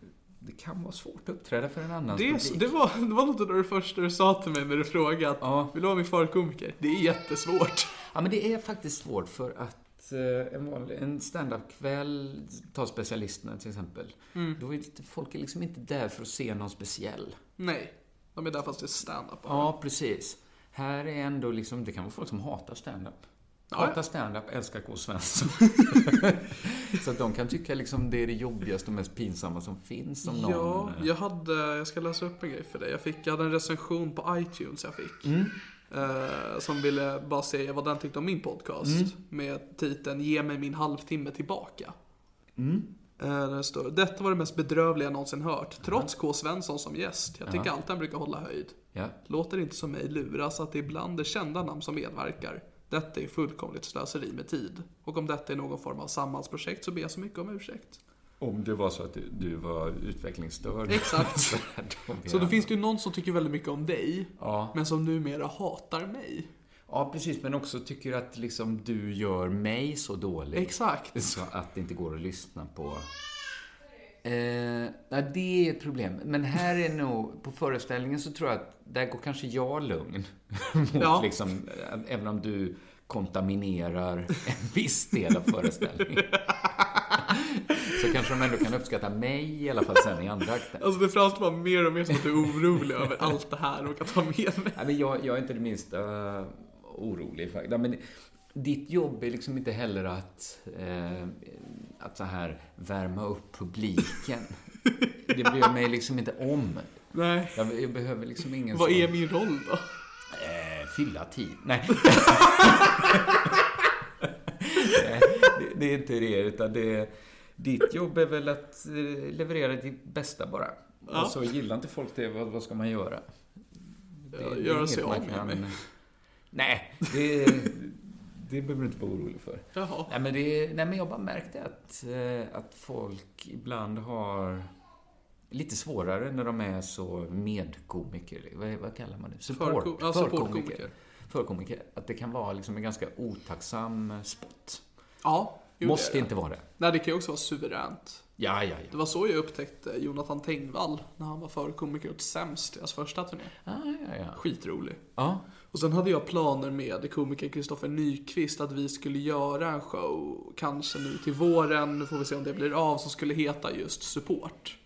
Speaker 2: det kan vara svårt att uppträda för en annan
Speaker 1: Det, är-
Speaker 2: publik.
Speaker 1: det, var, det var något av det första du sa till mig när du frågade att
Speaker 2: Ja.
Speaker 1: Vill du vara min förkomiker? Det är jättesvårt.
Speaker 2: Ja, men det är faktiskt svårt för att eh, en, vanlig, en stand-up-kväll, ta specialisterna till exempel,
Speaker 1: Mm.
Speaker 2: då är det, folk är liksom inte där för att se någon speciell.
Speaker 1: Nej. De är där fast det är stand-up.
Speaker 2: Ja, precis. Här är ändå liksom, det kan vara folk som hatar stand-up. Hatar stand-up, älskar K. Svensson. så att de kan tycka liksom det är det jobbigaste och mest pinsamma som finns om
Speaker 1: Ja,
Speaker 2: någon... eh,
Speaker 1: jag hade, jag ska läsa upp en grej för dig. Jag, fick, jag hade en recension på iTunes jag fick.
Speaker 2: Mm.
Speaker 1: Eh, som ville bara se vad den tyckte om min podcast.
Speaker 2: Mm.
Speaker 1: Med titeln Ge mig min halvtimme tillbaka.
Speaker 2: Mm.
Speaker 1: Eh, där det står, Detta var det mest bedrövliga jag någonsin hört. Trots K. Svensson som gäst. Jag tycker alltid han brukar hålla höjd.
Speaker 2: Ja.
Speaker 1: Låter inte som mig luras att det ibland är kända namn som medverkar. Detta är fullkomligt slöseri med tid. Och om detta är någon form av sammansprojekt så ber jag så mycket om ursäkt.
Speaker 2: Om det var så att du, du var utvecklingsstörd.
Speaker 1: Exakt.
Speaker 2: Så här, då
Speaker 1: Så då
Speaker 2: jag-
Speaker 1: finns det ju någon som tycker väldigt mycket om dig,
Speaker 2: Ja.
Speaker 1: men som numera hatar mig.
Speaker 2: Ja, precis. Men också tycker att liksom du gör mig så dålig.
Speaker 1: Exakt.
Speaker 2: Så att det inte går att lyssna på... Eh, ja, det är ett problem. Men här är nog, på föreställningen så tror jag att där går kanske jag lugn. mot
Speaker 1: Ja.
Speaker 2: liksom, eh, även om du kontaminerar en viss del av föreställningen. så kanske de ändå kan uppskatta mig i alla fall sen i andra akten.
Speaker 1: Alltså det framstår bara mer och mer som att du är orolig över allt det här och att ha med mig.
Speaker 2: Nej, men jag, jag är inte det minsta eh, orolig faktiskt. Ja, Men ditt jobb är liksom inte heller att, eh, att så här värma upp publiken. Det bryr jag mig liksom inte om.
Speaker 1: Nej.
Speaker 2: Jag, jag behöver liksom ingen
Speaker 1: Vad
Speaker 2: sån-
Speaker 1: är min roll då?
Speaker 2: eh, fylla tid. Nej. Nej, det, det är inte det, utan det, ditt jobb är väl att eh, leverera ditt bästa bara.
Speaker 1: Ja.
Speaker 2: Och så gillar inte folk det, vad, vad ska man göra? Det,
Speaker 1: Ja,
Speaker 2: det är
Speaker 1: göra
Speaker 2: inget
Speaker 1: sig av
Speaker 2: man
Speaker 1: med
Speaker 2: kan-
Speaker 1: mig.
Speaker 2: Nej, det, det behöver du inte vara orolig för.
Speaker 1: Jaha.
Speaker 2: Nej, men, det, nej, men jag bara märkte att, eh, att folk ibland har lite svårare när de är så medkomiker. Vad, vad kallar man det?
Speaker 1: Förko- ja, supportkomiker.
Speaker 2: Förkomiker. Att det kan vara liksom en ganska otacksam eh, spot.
Speaker 1: Ja. jo, det är
Speaker 2: Måste
Speaker 1: det.
Speaker 2: inte vara det.
Speaker 1: Nej, det kan ju också vara suveränt.
Speaker 2: Ja, ja,
Speaker 1: Det
Speaker 2: ja.
Speaker 1: var så jag upptäckte Jonathan Tengvall när han var förkomiker åt Sämst, deras första turné.
Speaker 2: Ah, ja, ja.
Speaker 1: Skitrolig.
Speaker 2: ja.
Speaker 1: Och sen hade jag planer med komikern Kristoffer Nyqvist att vi skulle göra en show, kanske nu till våren, nu får vi se om det blir av, som skulle heta just Support.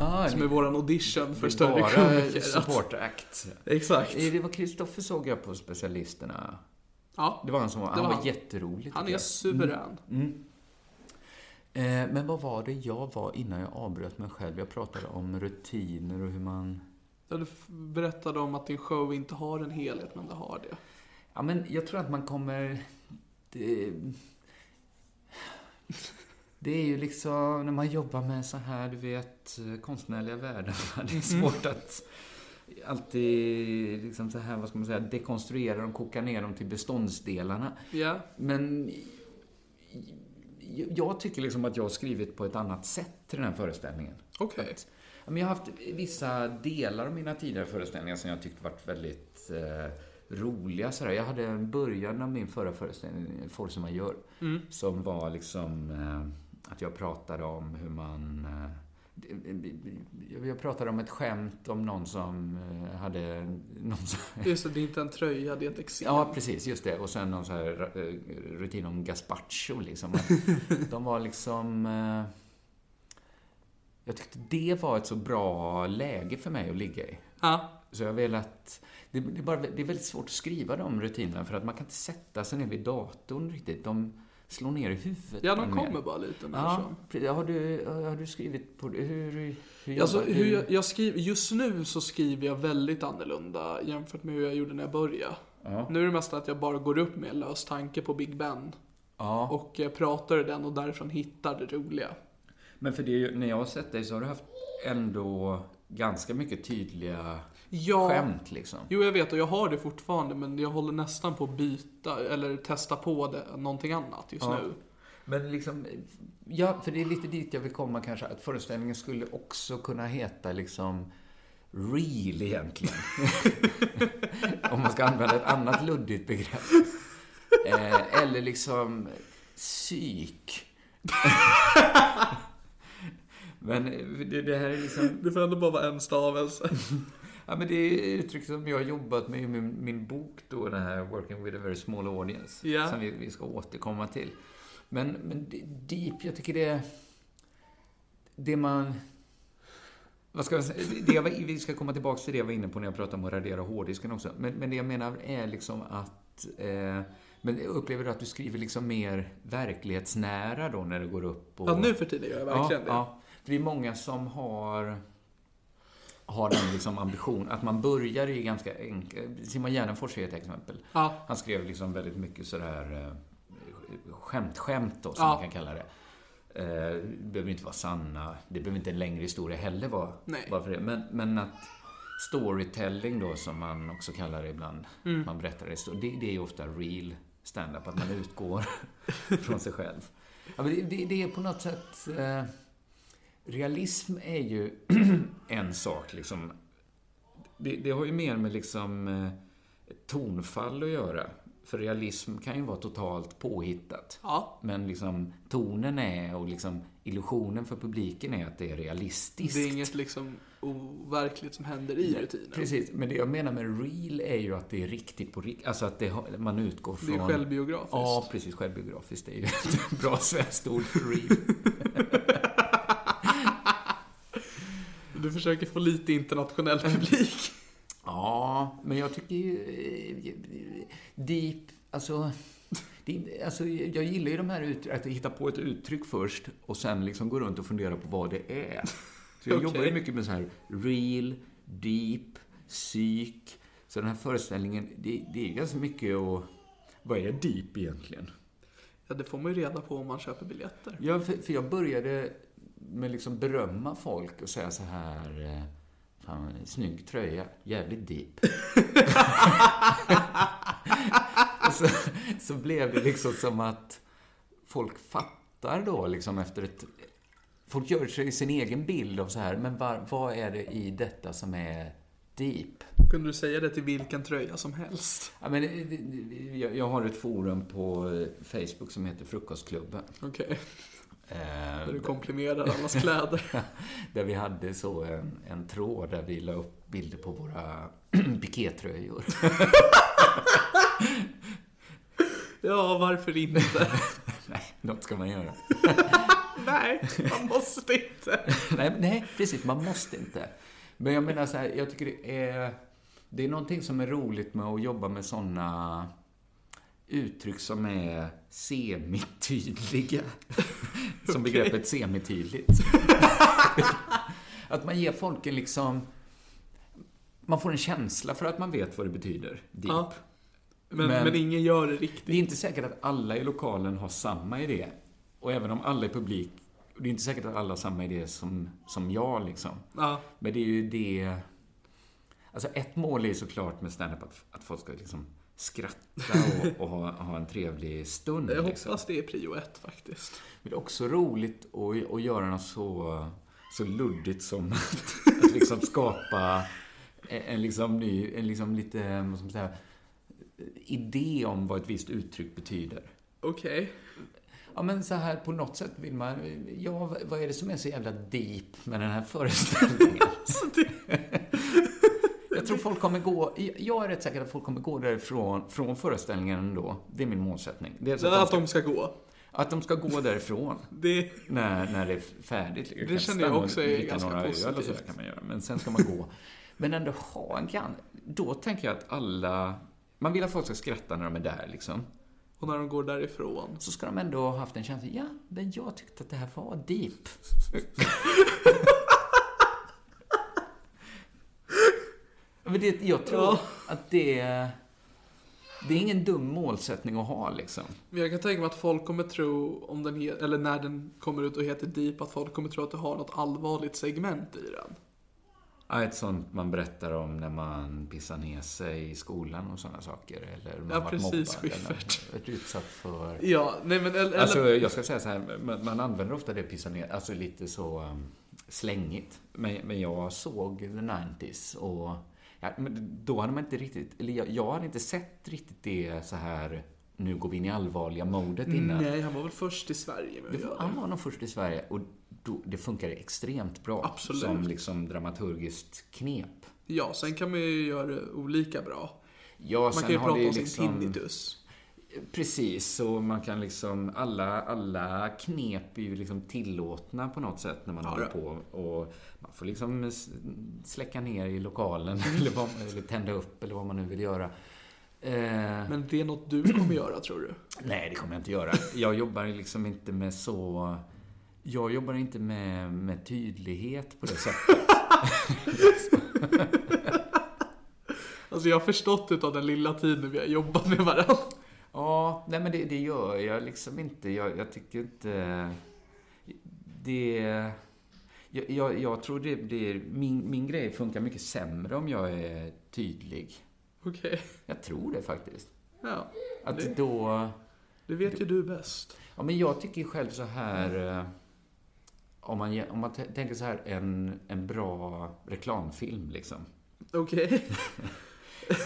Speaker 2: Ah,
Speaker 1: Som är våran audition för
Speaker 2: det är
Speaker 1: större
Speaker 2: bara
Speaker 1: komiker.
Speaker 2: support act.
Speaker 1: Att- Exakt.
Speaker 2: Eh, Det var Kristoffer såg jag på specialisterna.
Speaker 1: Ja,
Speaker 2: Det var Mm. han som var, han
Speaker 1: var
Speaker 2: var
Speaker 1: han.
Speaker 2: jätterolig. tycker
Speaker 1: han är
Speaker 2: jag.
Speaker 1: suverän.
Speaker 2: Eh, Men vad var det jag var innan jag avbröt mig själv? Jag pratade om rutiner och hur man...
Speaker 1: Ja, Du f- berättade om att din show inte har en helhet, men det har det.
Speaker 2: Ja, men jag tror att man kommer... Det, det är ju liksom när man jobbar med så här, du vet, konstnärliga värden. Det är
Speaker 1: Mm.
Speaker 2: svårt att alltid liksom så här, vad ska man säga, dekonstruera dem, koka ner dem till beståndsdelarna.
Speaker 1: Ja,
Speaker 2: Men jag- jag tycker liksom att jag har skrivit på ett annat sätt till den här föreställningen.
Speaker 1: okej.
Speaker 2: Att- ja, men jag har haft vissa delar av mina tidigare föreställningar som jag tyckt varit väldigt eh, roliga. Sådär. Jag hade en början av min förra föreställning, Force Major, som var liksom eh, att jag pratade om hur man... Eh, jag- jag pratade om ett skämt om någon som eh, hade... Någon som,
Speaker 1: Just det, det är inte en tröja, det är ett eksem.
Speaker 2: Ja, precis. Just det. Och sen någon så här eh, rutin om gazpacho liksom. De var liksom... eh, Jag tyckte det var ett så bra läge för mig att ligga i.
Speaker 1: Ja,
Speaker 2: Så jag har velat... Det, det, är bara, det är väldigt svårt att skriva de rutinerna för att man kan inte sätta sig ner vid datorn riktigt. De slår ner i huvudet.
Speaker 1: ja
Speaker 2: på
Speaker 1: de
Speaker 2: en mer.
Speaker 1: kommer bara lite mer
Speaker 2: Ja,
Speaker 1: så.
Speaker 2: pre- har du, har du skrivit på det? Hur, hur
Speaker 1: Alltså,
Speaker 2: jobbar
Speaker 1: hur
Speaker 2: du?
Speaker 1: jag, jag skriver, just nu så skriver jag väldigt annorlunda jämfört med hur jag gjorde när jag började. Nu är det mest att jag bara går upp med en lös tanke på Big Ben
Speaker 2: Ja.
Speaker 1: och eh, pratar i den och därifrån hittar det roliga.
Speaker 2: Men för det, är ju- när jag har sett dig så har du haft ändå ganska mycket tydliga
Speaker 1: Ja,
Speaker 2: skämt liksom.
Speaker 1: jo jag vet och jag har det fortfarande men jag håller nästan på att byta eller testa på det, någonting annat just nu.
Speaker 2: Men liksom, ja, för det är lite dit jag vill komma kanske, att föreställningen skulle också kunna heta liksom real egentligen. Om man ska använda ett annat luddigt begrepp. Eh, eller liksom psyk. Men det, det här är liksom,
Speaker 1: Det får ändå bara vara en stavelse.
Speaker 2: Ja, men det är uttryck som jag har jobbat med i min, min bok då, den här Working with a very small audience,
Speaker 1: Ja.
Speaker 2: som vi, vi ska återkomma till. Men, men det- deep, jag tycker det... Det man... Vad ska jag säga? Det jag var, vi ska komma tillbaka till det jag var inne på när jag pratade om att radera hårddisken också. Men, men det jag menar är liksom att... Eh, men jag upplever du att du skriver liksom mer verklighetsnära då när du går upp och...
Speaker 1: Ja, nu för tiden gör jag verkligen det.
Speaker 2: ja, Ja. För det är många som har har den liksom ambition att man börjar i ganska enkelt. Simon Gärdenfors är ett exempel.
Speaker 1: Ja.
Speaker 2: Han skrev liksom väldigt mycket sådär eh, skämt-skämt då, som
Speaker 1: Ja.
Speaker 2: man kan kalla det. Eh, Det behöver inte vara sanna. Det behöver inte en längre historia heller vara.
Speaker 1: Nej.
Speaker 2: vara för det. Men, men att storytelling då, som man också kallar det ibland,
Speaker 1: Mm.
Speaker 2: man berättar det, så det, det är ju ofta real stand-up, att man utgår från sig själv. Ja, men det, det, det är på något sätt... Eh, realism är ju en sak, liksom. Det, det har ju mer med liksom eh, tonfall att göra. För realism kan ju vara totalt påhittat.
Speaker 1: Ja.
Speaker 2: Men liksom tonen är och liksom illusionen för publiken är att det är realistiskt.
Speaker 1: Det är inget liksom overkligt som händer i rutinen.
Speaker 2: Precis, men det jag menar med real är ju att det är riktigt på riktigt. Alltså att det, har- man utgår
Speaker 1: Det
Speaker 2: från...
Speaker 1: är självbiografiskt.
Speaker 2: Ja, precis. Självbiografiskt är ju ett bra svenskt ord för real.
Speaker 1: Du försöker få lite internationell publik.
Speaker 2: Ja, men jag tycker ju... eh, Deep, alltså... Det, är- alltså jag gillar ju de här ut, att hitta på ett uttryck först och sen liksom gå runt och fundera på vad det är. Så jag
Speaker 1: Okej.
Speaker 2: jobbar ju mycket med så här real, deep, psyk. Så den här föreställningen, det, det är ganska mycket att... Vad är deep egentligen?
Speaker 1: Ja, det får man ju reda på om man köper biljetter.
Speaker 2: Ja, för, för jag började med liksom berömma folk och säga så här... eh, Fan, snygg tröja. Jävligt deep. och så, så blev det liksom som att folk fattar då liksom efter ett... Folk gör sig sin egen bild av så här, men var, vad är det i detta som är deep?
Speaker 1: Kunde du säga det till vilken tröja som helst?
Speaker 2: Ja, men, eh, det- det- det- jag, jag har ett forum på eh, Facebook som heter Frukostklubben.
Speaker 1: Okej,
Speaker 2: Eh,
Speaker 1: där du komplimerar allas kläder.
Speaker 2: Där vi hade så en, en tråd där vi la upp bilder på våra pikétröjor.
Speaker 1: Ja, varför inte?
Speaker 2: nej, något ska man göra.
Speaker 1: Nej, man måste inte.
Speaker 2: nej, men- nej, precis. Man måste inte. Men jag menar så här, jag tycker det är... Det är någonting som är roligt med att jobba med såna uttryck som är semitydliga. som begreppet semitydligt. att man ger folk en liksom... Man får en känsla för att man vet vad det betyder. Deep.
Speaker 1: Ja. Men, men,
Speaker 2: Men-
Speaker 1: ingen gör det riktigt.
Speaker 2: Det är inte säkert att alla i lokalen har samma idé. Och även om alla är publik, och det är inte säkert att alla har samma idé som, som jag liksom.
Speaker 1: Ja,
Speaker 2: Men det är ju det... Alltså ett mål är ju såklart med standup att, att folk ska liksom skratta och, och ha, ha en trevlig stund.
Speaker 1: jag
Speaker 2: liksom.
Speaker 1: hoppas det är prio ett faktiskt.
Speaker 2: Men det är också roligt att, att göra något så, så luddigt som att, att liksom skapa en, en, liksom ny, en liksom lite, vad ska man säga, idé om vad ett visst uttryck betyder.
Speaker 1: Okej.
Speaker 2: Ja, men så här på något sätt vill man... Ja, vad är det som är så jävla deep med den här föreställningen? jag tror folk kommer gå... Jag är rätt säker att folk kommer gå därifrån, från föreställningen ändå. Det är min målsättning. Det är så
Speaker 1: Att
Speaker 2: att, de,
Speaker 1: de ska gå.
Speaker 2: att de ska gå därifrån
Speaker 1: Det,
Speaker 2: när, när det är färdigt.
Speaker 1: Det
Speaker 2: kan
Speaker 1: känner jag
Speaker 2: stanna och
Speaker 1: också är
Speaker 2: dricka
Speaker 1: ganska
Speaker 2: några öl och så
Speaker 1: positivt.
Speaker 2: kan man göra, men sen ska man gå. Men ändå ha en kan. Då tänker jag att alla... Man vill att folk ska skratta när de är där, liksom
Speaker 1: och när de går därifrån.
Speaker 2: så ska de ändå ha haft en känsla, ja, men jag tyckte att det här var deep. men det, jag tror att det, det är ingen dum målsättning att ha liksom.
Speaker 1: Men jag kan tänka mig att folk kommer tro, om den he- eller när den kommer ut och heter Deep, att folk kommer tro att det har något allvarligt segment i den.
Speaker 2: Ja, ett sånt man berättar om när man pissar ner sig i skolan och sådana saker. Eller man
Speaker 1: Ja,
Speaker 2: varit
Speaker 1: precis,
Speaker 2: mobbad eller
Speaker 1: Schyffert.
Speaker 2: varit utsatt för...
Speaker 1: Ja, nej men eller...
Speaker 2: Alltså, jag ska säga så här, man, man använder ofta det pissa ner, alltså lite så um, slängigt. Men, men jag såg the 90s och ja, men då hade man inte riktigt, eller jag, jag hade inte sett riktigt det så här, nu går vi in i allvarliga modet innan.
Speaker 1: nej, han var väl först i Sverige med
Speaker 2: Mm. Det
Speaker 1: att
Speaker 2: var,
Speaker 1: göra
Speaker 2: han
Speaker 1: det.
Speaker 2: var nog först i Sverige och då, det funkade extremt bra.
Speaker 1: Absolut.
Speaker 2: Som liksom dramaturgiskt knep.
Speaker 1: Ja, sen kan man ju göra det olika bra.
Speaker 2: Ja,
Speaker 1: Man
Speaker 2: sen
Speaker 1: kan ju
Speaker 2: har
Speaker 1: prata
Speaker 2: det
Speaker 1: om sin
Speaker 2: liksom-
Speaker 1: tinnitus.
Speaker 2: Precis, och man kan liksom alla, alla knep är ju liksom tillåtna på något sätt när man håller
Speaker 1: det.
Speaker 2: på. Och man får liksom s- släcka ner i lokalen eller, vad, eller tända upp eller vad man nu vill göra. Eh,
Speaker 1: Men det är något du kommer göra, tror du?
Speaker 2: Nej, det kommer jag inte göra. Jag jobbar liksom inte med så... Jag jobbar inte med, med tydlighet på det sättet.
Speaker 1: Alltså jag har förstått utav den lilla tiden vi har jobbat med varandra.
Speaker 2: Ja, nej men det, det gör jag liksom inte. Jag, jag tycker inte... Det... Jag, jag, jag tror det blir... Min, min grej funkar mycket sämre om jag är tydlig.
Speaker 1: Okej.
Speaker 2: Jag tror det faktiskt.
Speaker 1: Ja,
Speaker 2: Att
Speaker 1: Det-
Speaker 2: då...
Speaker 1: det vet ju du bäst.
Speaker 2: Ja, men jag tycker själv så här... eh, Om man, ge- om man t- tänker så här, en, en bra reklamfilm liksom.
Speaker 1: Okej.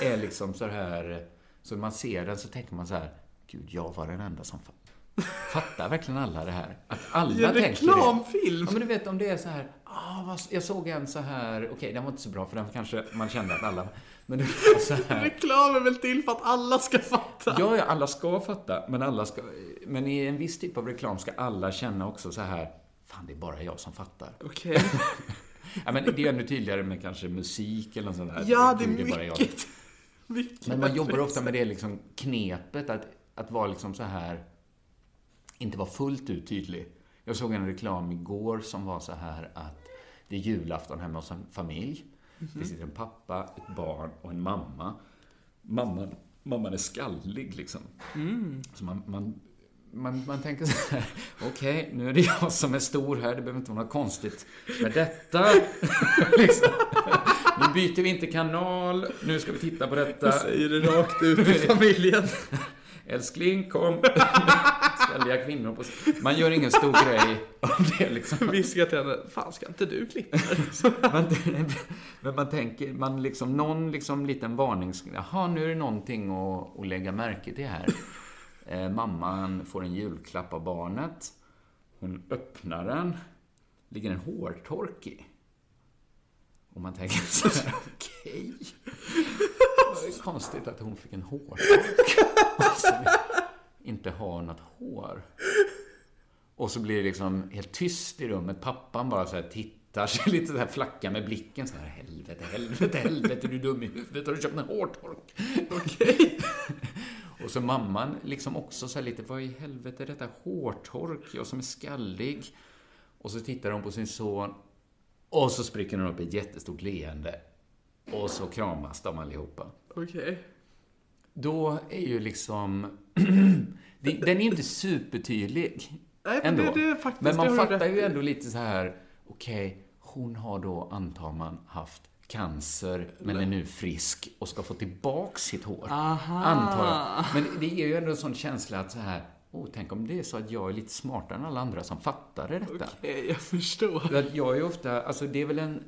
Speaker 2: är liksom så här Så när man ser den så tänker man så här, gud, jag var den enda som fa- fattar verkligen alla det här. Att alla
Speaker 1: I en
Speaker 2: tänker
Speaker 1: reklamfilm!
Speaker 2: Ja, men du vet om det är så här, ah, vad, jag såg en så här, okej, den var inte så bra för den kanske man kände att alla, men det var så här.
Speaker 1: Reklam är väl till för att alla ska fatta?
Speaker 2: Ja, ja, alla ska fatta, men alla ska, men i en viss typ av reklam ska alla känna också så här, fan, det är bara jag som fattar.
Speaker 1: Okej.
Speaker 2: Ja, men det är ju ännu tydligare med kanske musik eller något sånt där.
Speaker 1: Ja, det är
Speaker 2: Gud, bara jag.
Speaker 1: mycket. mycket
Speaker 2: Men man jobbar ofta med det liksom knepet att, att vara liksom så här, inte vara fullt ut tydlig. Jag såg en reklam igår som var så här att det är julafton hemma hos en familj. Det sitter en pappa, ett barn och en mamma. Mamman, mamman är skallig liksom. Så man, man, man, man tänker så här, okej, nu är det jag som är stor här, det behöver inte vara något konstigt med detta. liksom. Nu byter vi inte kanal, nu ska vi titta på detta.
Speaker 1: Säger det rakt ut i familjen.
Speaker 2: Älskling, kom. Skalliga kvinnor på... Man gör ingen stor grej av det liksom.
Speaker 1: Viskar till henne, fan ska inte du klippa?
Speaker 2: Men, men man tänker, man liksom, någon liksom liten varning. Jaha, nu är det någonting att, att lägga märke till här. Eh, mamman får en julklapp av barnet. Hon öppnar den. Ligger en hårtork i. Och man tänker så här, okej. Det är konstigt att hon fick en hårtork. Och så inte har något hår. Och så blir det liksom helt tyst i rummet. Pappan bara så här tittar sig lite så här flacka med blicken så här. Helvete, helvete, helvete, du är dum i huvudet. Har du köpt en hårtork? Okej. Och så mamman liksom också så här lite, vad i helvete är detta hårtork? Jag som är skallig. Och så tittar hon på sin son. Och så spricker hon upp i ett jättestort leende. Och så kramas de allihopa.
Speaker 1: Okej.
Speaker 2: Då är ju liksom... det- den är inte supertydlig.
Speaker 1: Nej, men det- det är faktiskt-
Speaker 2: men
Speaker 1: det
Speaker 2: man
Speaker 1: har du
Speaker 2: fattar
Speaker 1: rätt
Speaker 2: ju
Speaker 1: i.
Speaker 2: ändå lite så här, okej, hon har då, antar man, haft cancer, men är nu frisk och ska få tillbaka sitt hår. Antar jag. Men det ger ju ändå en sån känsla att så här, oh, tänk om det är så att jag är lite smartare än alla andra som fattade detta.
Speaker 1: Okej, jag förstår.
Speaker 2: För att Jag är ju ofta, alltså det är väl en...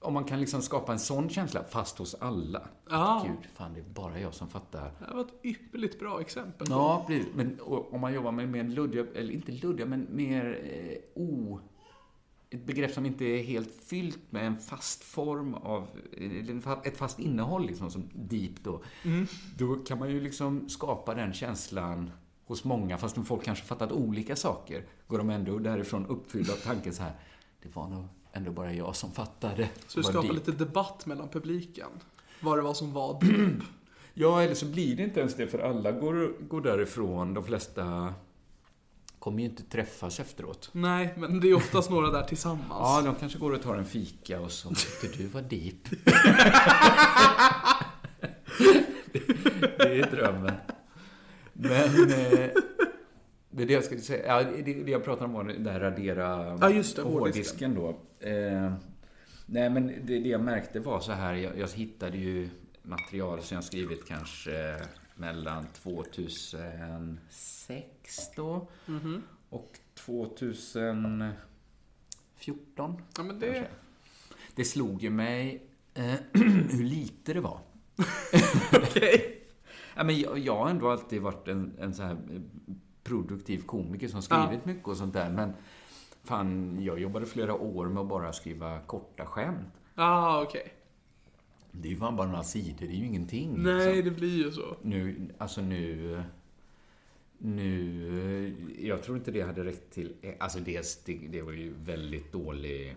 Speaker 2: Om man kan liksom skapa en sån känsla, fast hos alla.
Speaker 1: Ja.
Speaker 2: Gud, fan det är bara jag som fattar.
Speaker 1: Det här var ett ypperligt bra exempel.
Speaker 2: Ja, precis. Men och- om man jobbar med mer luddiga, eller inte luddiga, men mer eh, o... Ett begrepp som inte är helt fyllt med en fast form av, eh, eller en fa- ett fast innehåll liksom, som deep då. Då kan man ju liksom skapa den känslan hos många, fast folk kanske fattat olika saker. Går de ändå därifrån uppfyllda av tanken så här, det var nog ändå bara jag som fattade.
Speaker 1: Så du
Speaker 2: Var
Speaker 1: skapar
Speaker 2: deep.
Speaker 1: lite debatt mellan publiken. Vad det var som var deep.
Speaker 2: Ja, eller så blir det inte ens det, för alla går, går därifrån. De flesta kommer ju inte träffas efteråt.
Speaker 1: Nej, men det är oftast några där tillsammans.
Speaker 2: Ja, de kanske går och tar en fika och så tyckte du var deep. det, det är drömmen. Men eh, det är det jag skulle säga. Ja, det, det jag pratar om var den där radera
Speaker 1: Ja, just det,
Speaker 2: hårddisken då. Eh, nej, men det, det jag märkte var så här. Jag, jag hittade ju material som jag skrivit kanske mellan 2006 då och 2014.
Speaker 1: Ja, men det-
Speaker 2: kanske. det slog ju mig eh, hur lite det var. Ja, men jag, jag har ändå alltid varit en, en så här eh, produktiv komiker som skrivit mycket och sånt där. Men fan, jag jobbade flera år med att bara skriva korta skämt.
Speaker 1: Ah, okej.
Speaker 2: Det är ju fan bara några sidor, det är ju ingenting.
Speaker 1: Nej,
Speaker 2: liksom.
Speaker 1: det blir ju så.
Speaker 2: Nu, alltså nu... Nu... Jag tror inte det hade räckt till... Alltså dels, det, det var ju väldigt dålig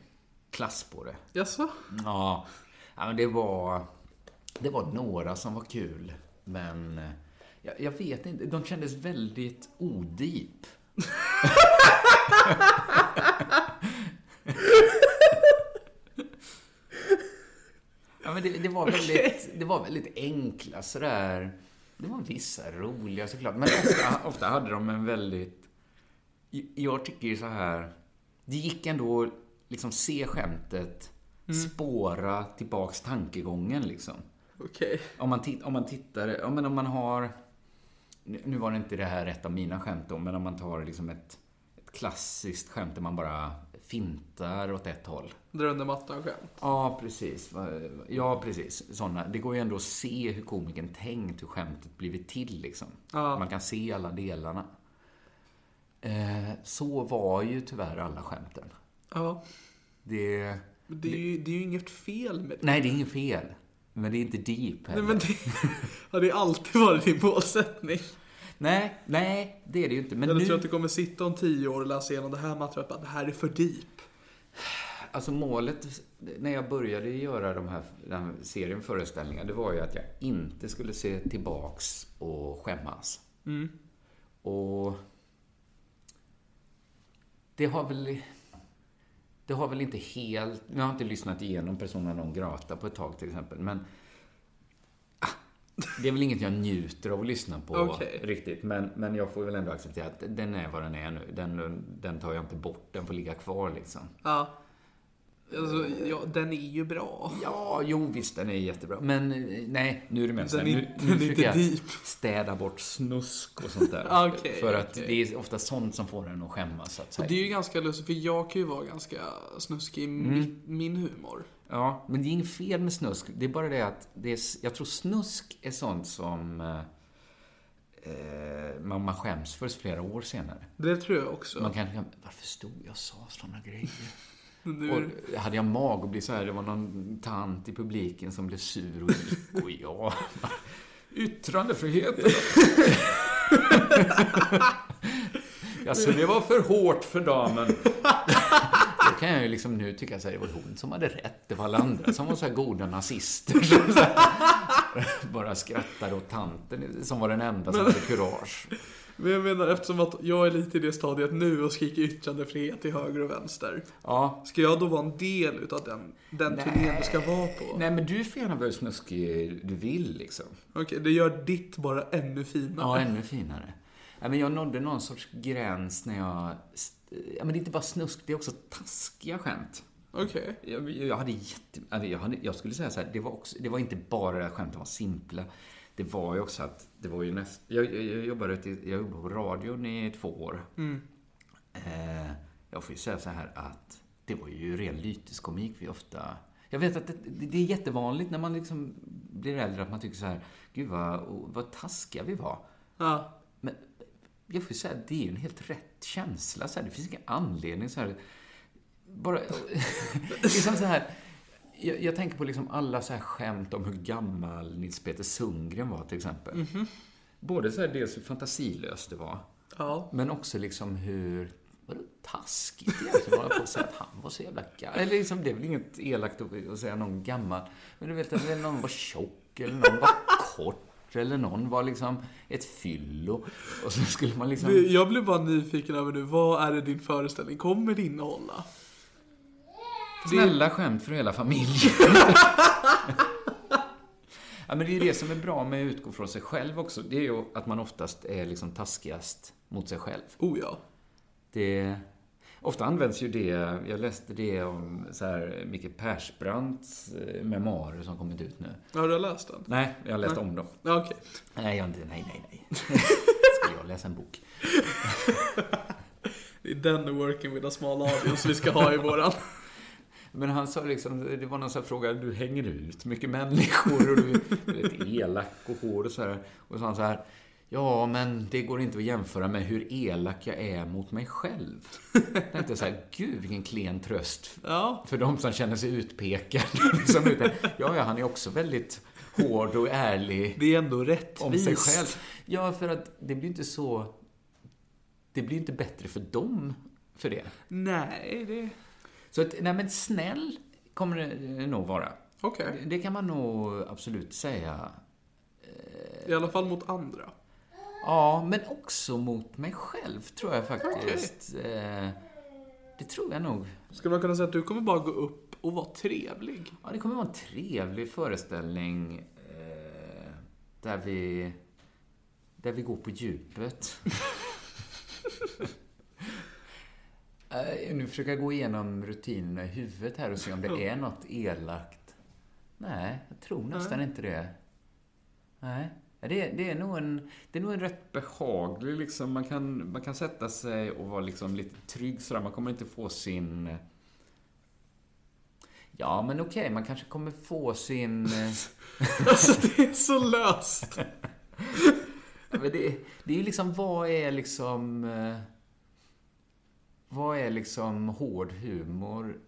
Speaker 2: klass på det.
Speaker 1: Jaså?
Speaker 2: Ja, ja men det var, det var några som var kul, men eh, jag, jag vet inte. De kändes väldigt odip. ja, men det, det, var väldigt, det var väldigt enkla sådär. Det var vissa roliga såklart, men ofta, ofta hade de en väldigt jag tycker ju så här. Det gick ändå att liksom se skämtet, spåra tillbaks tankegången liksom.
Speaker 1: Okej.
Speaker 2: Om man, titt, om man tittar, ja men om man har, nu nu var det inte det här ett av mina skämt då, men om man tar liksom ett, ett klassiskt skämt där man bara fintar åt ett håll.
Speaker 1: Dra under mattan själv.
Speaker 2: Ja, precis. Ja, precis. Såna. Det går ju ändå att se hur komikern tänkt, hur skämtet blivit till liksom.
Speaker 1: Ja.
Speaker 2: Man kan se alla delarna. Eh, så var ju tyvärr alla skämten.
Speaker 1: Ja.
Speaker 2: Det...
Speaker 1: Men det är, ju, det är ju inget fel med det.
Speaker 2: Nej, det är inget fel. Men det är inte deep
Speaker 1: Nej,
Speaker 2: heller.
Speaker 1: men det har det alltid varit din målsättning.
Speaker 2: nej, nej, det är det ju inte. Men
Speaker 1: Jag
Speaker 2: nu...
Speaker 1: tror att du kommer sitta om tio år och läsa igenom det här materialet och bara, det här är för deep.
Speaker 2: Alltså målet, när jag började göra de här, den här serien föreställningar, det var ju att jag inte skulle se tillbaks och skämmas. Och det har väl det har väl inte helt, jag har inte lyssnat igenom Persona non grata på ett tag till exempel, men ah, det är väl inget jag njuter av att lyssna på
Speaker 1: Okej.
Speaker 2: riktigt, men, men jag får väl ändå acceptera att den är vad den är nu. Den, den tar jag inte bort, den får ligga kvar liksom.
Speaker 1: Ja. Alltså, ja, den är ju bra.
Speaker 2: Ja, jo visst, den är jättebra. Men eh, nej, nu är det mest
Speaker 1: Den
Speaker 2: så här,
Speaker 1: är-
Speaker 2: nu,
Speaker 1: den
Speaker 2: nu
Speaker 1: är
Speaker 2: försöker jag
Speaker 1: inte deep.
Speaker 2: städa bort snusk och sånt där.
Speaker 1: Okej,
Speaker 2: för att
Speaker 1: okej.
Speaker 2: det är ofta sånt som får en att skämmas, så att säga.
Speaker 1: Det är ju ganska lustigt, för jag kan ju vara ganska snuskig i
Speaker 2: Mm.
Speaker 1: mi- min humor.
Speaker 2: Ja, men det är inget fel med snusk. Det är bara det att det är, s- jag tror snusk är sånt som eh, eh, man, man skäms för flera år senare.
Speaker 1: Det tror jag också.
Speaker 2: Man kanske kan, varför stod jag och sa sådana grejer?
Speaker 1: Nu,
Speaker 2: Och hade jag mag att bli så här, det var någon tant i publiken som blev sur och gick och jag... Yttrandefriheten! alltså, det var för hårt för damen. Då kan jag ju liksom nu tycka så här, det var hon som hade rätt. Det var alla andra som var så här goda nazister. som så här Bara skrattade åt tanten som var den enda som hade kurage.
Speaker 1: Men jag menar, eftersom att jag är lite i det stadiet nu och skriker yttrandefrihet till höger och vänster.
Speaker 2: Ja.
Speaker 1: Ska jag då vara en del utav den, den turnén du ska vara på?
Speaker 2: Nej, men du får gärna vara hur snuskig du vill liksom.
Speaker 1: Okej, det gör ditt bara ännu finare.
Speaker 2: Ja, ännu finare. Ja, men jag nådde någon sorts gräns när jag... Ja, men det är inte bara snusk, det är också taskiga skämt.
Speaker 1: Okej.
Speaker 2: Jag, jag hade jätte... alltså, Jag, hade, jag skulle säga så här, det var, också, det var inte bara det att skämten var simpla. Det var ju också att, det var ju näst... Jag, jag, jag, jobbade, ute- jag jobbade på radion i två år. Eh, jag får ju säga så här att det var ju ren lyteskomik vi ofta... Jag vet att det, det det är jättevanligt när man liksom blir äldre att man tycker så här, gud vad, vad taskiga vi var.
Speaker 1: Ja.
Speaker 2: Men jag får ju säga, det är ju en helt rätt känsla. Så här. Det finns ingen anledning. Så här. Bara, liksom så här. Jag, jag tänker på liksom alla så här skämt om hur gammal Nils Peter Sundgren var, till exempel. Både så här, dels hur fantasilöst det var,
Speaker 1: Ja.
Speaker 2: men också liksom hur Vadå taskigt egentligen? Bara på att säga att han var så jävla gammal. Eller liksom, det är väl inget elakt att att säga någon gammal. Men du vet, att någon var tjock eller någon var kort eller någon var liksom ett fyllo. Och så skulle man liksom...
Speaker 1: Det- Jag blev bara nyfiken över nu, vad är det din föreställning kommer det innehålla?
Speaker 2: Snälla skämt för hela familjen. ja, men det är ju det som är bra med att utgå från sig själv också. Det är ju att man oftast är liksom taskigast mot sig själv.
Speaker 1: Oh ja.
Speaker 2: Det, ofta används ju det, jag läste det om så här, Micke Persbrandts eh, memoarer som kommit ut nu.
Speaker 1: Har du läst den?
Speaker 2: Nej, jag har läst om dem.
Speaker 1: Ja, Okej.
Speaker 2: Nej, jag har inte, nej, nej, nej. Skulle jag läsa en bok?
Speaker 1: Det är den working with a small audience vi ska ha i våran.
Speaker 2: Men han sa liksom, det var någon sån här fråga, du hänger ut mycket människor och du är väldigt elak och hård och så här. Och så sa han så här, ja men det går inte att jämföra med hur elak jag är mot mig själv. Jag tänkte så här, gud vilken klen tröst
Speaker 1: Ja.
Speaker 2: för de som känner sig utpekade. Liksom, utan, ja, ja, han är också väldigt hård och ärlig
Speaker 1: Det är ändå
Speaker 2: om sig
Speaker 1: rättvist.
Speaker 2: själv. Ja, för att det blir inte så... Det blir inte bättre för dem för det.
Speaker 1: Nej, det...
Speaker 2: Så att, nej men snäll kommer det eh, nog vara.
Speaker 1: Okej.
Speaker 2: Det- Det kan man nog absolut säga.
Speaker 1: I alla fall mot andra.
Speaker 2: Ja, men också mot mig själv tror jag faktiskt. Eh, Det tror jag nog.
Speaker 1: Skulle man kunna säga att du kommer bara gå upp och vara trevlig?
Speaker 2: Ja, det kommer vara en trevlig föreställning eh, där vi där vi går på djupet. Eh, nu försöker jag gå igenom rutinerna i huvudet här och se om det är något elakt. Nej, jag tror nästan inte det. Nej. Ja, Det, det, är nog en, det är nog en rätt behaglig, liksom. man, kan, man kan sätta sig och vara liksom lite trygg sådär. Man kommer inte få sin... Ja, men okej, man kanske kommer få sin... eh,
Speaker 1: Alltså det är så löst.
Speaker 2: Ja, Men det, det är ju liksom, vad är liksom... eh, Vad är liksom hård humor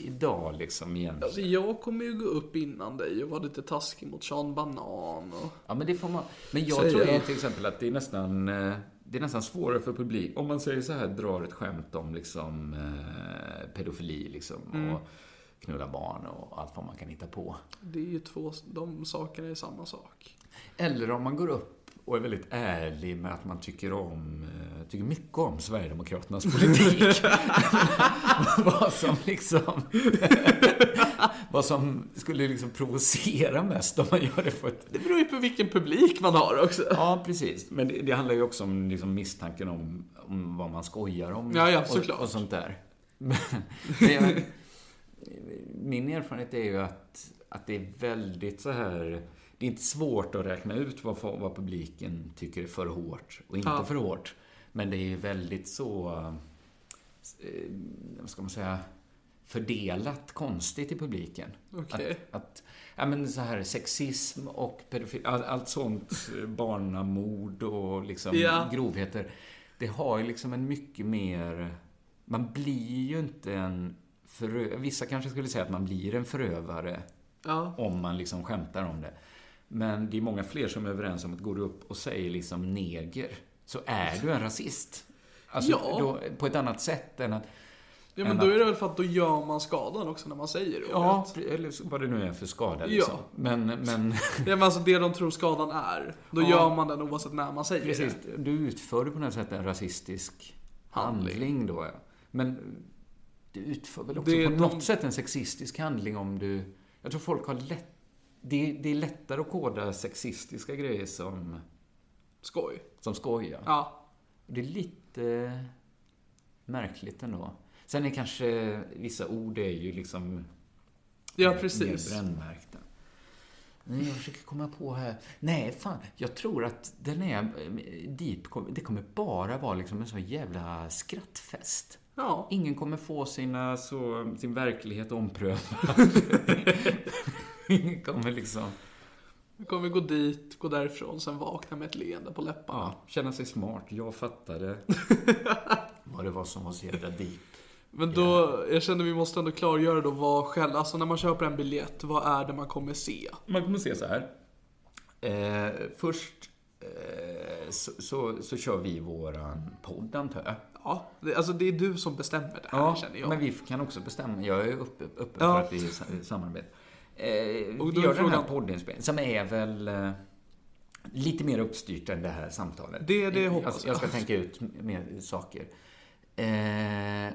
Speaker 2: idag liksom
Speaker 1: Alltså
Speaker 2: egentligen?
Speaker 1: jag kommer ju gå upp innan dig och vara lite taskig mot Sean Banan och...
Speaker 2: Ja, men det får man... Men jag
Speaker 1: Säger
Speaker 2: tror ju
Speaker 1: jag.
Speaker 2: till exempel att det är nästan... eh, Det är nästan svårare för publik. Om man säger så här, drar ett skämt om liksom eh, pedofili liksom
Speaker 1: Mm.
Speaker 2: och knulla barn och allt vad man kan hitta på.
Speaker 1: Det är ju två, de sakerna är samma sak.
Speaker 2: Eller om man går upp och är väldigt ärlig med att man tycker om, eh, tycker mycket om Sverigedemokraternas politik. vad som liksom, vad som skulle liksom provocera mest om man gör det på ett...
Speaker 1: Det beror ju på vilken publik man har också.
Speaker 2: Ja, precis. Men det, det handlar ju också om liksom misstanken om, om vad man skojar om.
Speaker 1: Ja, ja,
Speaker 2: och,
Speaker 1: såklart.
Speaker 2: och sånt där. Men, men jag, min erfarenhet är ju att, att det är väldigt så här... Det är inte svårt att räkna ut vad, fo- vad publiken tycker är för hårt och inte
Speaker 1: Ja.
Speaker 2: för hårt. Men det är ju väldigt så... eh, Vad ska man säga? Fördelat konstigt i publiken.
Speaker 1: Okej.
Speaker 2: Att, att, ja men så här sexism och pedofil, all, allt sånt, eh, barnamord och liksom
Speaker 1: Ja.
Speaker 2: grovheter. Det har ju liksom en mycket mer... Man blir ju inte en förö, Vissa kanske skulle säga att man blir en förövare
Speaker 1: Ja.
Speaker 2: om man liksom skämtar om det. Men det är många fler som är överens om att går du upp och säger liksom neger, så är du en rasist. Alltså,
Speaker 1: Ja.
Speaker 2: då, på ett annat sätt än att...
Speaker 1: Ja men
Speaker 2: än
Speaker 1: då
Speaker 2: att-
Speaker 1: är det väl för att då gör man skadan också när man säger det
Speaker 2: Ja,
Speaker 1: ordet.
Speaker 2: eller så- vad det nu är för skada liksom.
Speaker 1: Ja.
Speaker 2: Men, men...
Speaker 1: Ja men alltså det de tror skadan är, då
Speaker 2: Ja.
Speaker 1: gör man den oavsett när man säger
Speaker 2: Precis,
Speaker 1: det.
Speaker 2: du utförde på något sätt en rasistisk handling, då. Ja. Men du utför väl också
Speaker 1: Det är
Speaker 2: på
Speaker 1: de-
Speaker 2: något sätt en sexistisk handling om du... Jag tror folk har lätt... Det, det är lättare att koda sexistiska grejer som,
Speaker 1: Skoj.
Speaker 2: som skoja.
Speaker 1: Ja.
Speaker 2: Det är lite märkligt ändå. Sen är kanske vissa ord är ju liksom
Speaker 1: Ja
Speaker 2: mer-
Speaker 1: precis.
Speaker 2: Mer brännmärkta. Nej, jag försöker komma på här. Nej, fan. Jag tror att den är... eh, Deep, kom- det kommer bara vara liksom en sån jävla skrattfest.
Speaker 1: Ja.
Speaker 2: Ingen kommer få sina, så, sin verklighet omprövad. Ingen kommer liksom
Speaker 1: Nu kommer vi gå dit, gå därifrån, sen vakna med ett leende på läpparna.
Speaker 2: ja, känna sig smart. Jag fattade vad det var som var så jävla deep.
Speaker 1: Men då, jag känner vi måste ändå klargöra då vad själv, alltså när man köper en biljett, vad är det man kommer se?
Speaker 2: Man kommer se så här. Eh, först eh, så, så, så kör vi våran podd, antar jag.
Speaker 1: Ja, det, alltså det är du som bestämmer det här känner jag.
Speaker 2: men vi kan också bestämma. Jag är uppe, uppe
Speaker 1: Ja.
Speaker 2: för att vi sa- samarbetar. Eh,
Speaker 1: Och
Speaker 2: och
Speaker 1: då
Speaker 2: vi
Speaker 1: är
Speaker 2: gör den här
Speaker 1: frågan-
Speaker 2: poddinspelningen, som är väl eh, lite mer uppstyrt än det här samtalet.
Speaker 1: Det- det
Speaker 2: jag.
Speaker 1: hoppas
Speaker 2: jag ska
Speaker 1: jag.
Speaker 2: tänka ut m- mer saker. Eh, eh,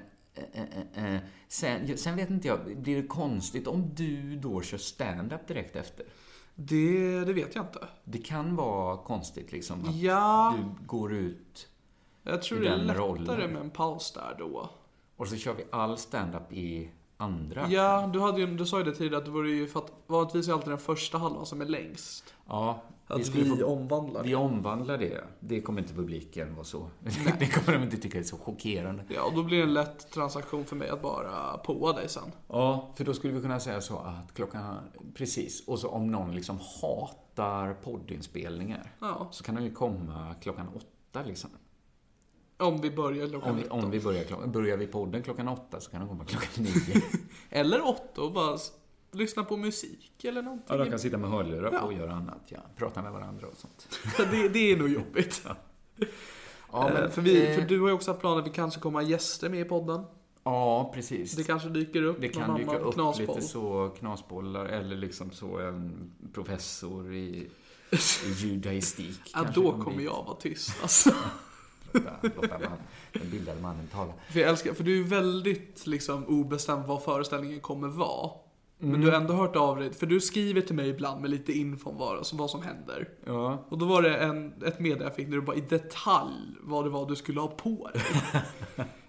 Speaker 2: eh, eh. Sen, sen vet inte jag, blir det konstigt om du då kör stand-up direkt efter?
Speaker 1: Det, det vet jag inte.
Speaker 2: Det kan vara konstigt liksom att
Speaker 1: Ja,
Speaker 2: du går ut
Speaker 1: jag tror
Speaker 2: i
Speaker 1: det är
Speaker 2: den
Speaker 1: lättare
Speaker 2: rollen.
Speaker 1: med en paus där då.
Speaker 2: och så kör vi all stand-up i andra.
Speaker 1: Ja, du, hade ju, du sa ju det tidigare att det vore ju för att vanligtvis är alltid den första halvan som är längst.
Speaker 2: Ja, vi
Speaker 1: Att vi,
Speaker 2: skulle få
Speaker 1: omvandlar det.
Speaker 2: Vi omvandlar det. Det kommer inte publiken vara så... det kommer de inte tycka är så chockerande.
Speaker 1: Ja, och då blir det en lätt transaktion för mig att bara påa dig sen.
Speaker 2: Ja, för då skulle vi kunna säga så att klockan... Precis. Och så om någon liksom hatar poddinspelningar
Speaker 1: Ja.
Speaker 2: så kan de ju komma klockan åtta liksom.
Speaker 1: Om vi börjar klockan
Speaker 2: Om vi,
Speaker 1: nitton.
Speaker 2: om vi börjar, klockan, börjar vi podden klockan åtta så kan de komma klockan nio.
Speaker 1: Eller åtta och bara s- lyssna på musik eller någonting.
Speaker 2: ja, de kan sitta med hörlurar på och
Speaker 1: Ja.
Speaker 2: göra annat. Ja. Prata med varandra och sånt.
Speaker 1: det, det är nog jobbigt.
Speaker 2: Ja,
Speaker 1: Eh, för, vi, för du har ju också haft planer att vi kanske kommer ha gäster med i podden.
Speaker 2: ja precis.
Speaker 1: Det kanske dyker upp
Speaker 2: Det kan
Speaker 1: någon
Speaker 2: dyka
Speaker 1: annan
Speaker 2: upp
Speaker 1: knasboll.
Speaker 2: lite så knasbollar eller liksom så en professor i, i judaistik.
Speaker 1: Ja,
Speaker 2: kanske
Speaker 1: då
Speaker 2: kom
Speaker 1: kommer
Speaker 2: dit.
Speaker 1: jag vara tyst alltså.
Speaker 2: Lotta, Lotta man, den bildade mannen tala.
Speaker 1: För jag älskar, för du är ju väldigt liksom obestämd vad föreställningen kommer vara. Men
Speaker 2: Mm.
Speaker 1: du har ändå hört av dig, för du skriver till mig ibland med lite info om vad, som- vad som händer.
Speaker 2: Ja.
Speaker 1: Och då var det en, ett meddelande jag fick där du bara i detalj vad det var du skulle ha på dig.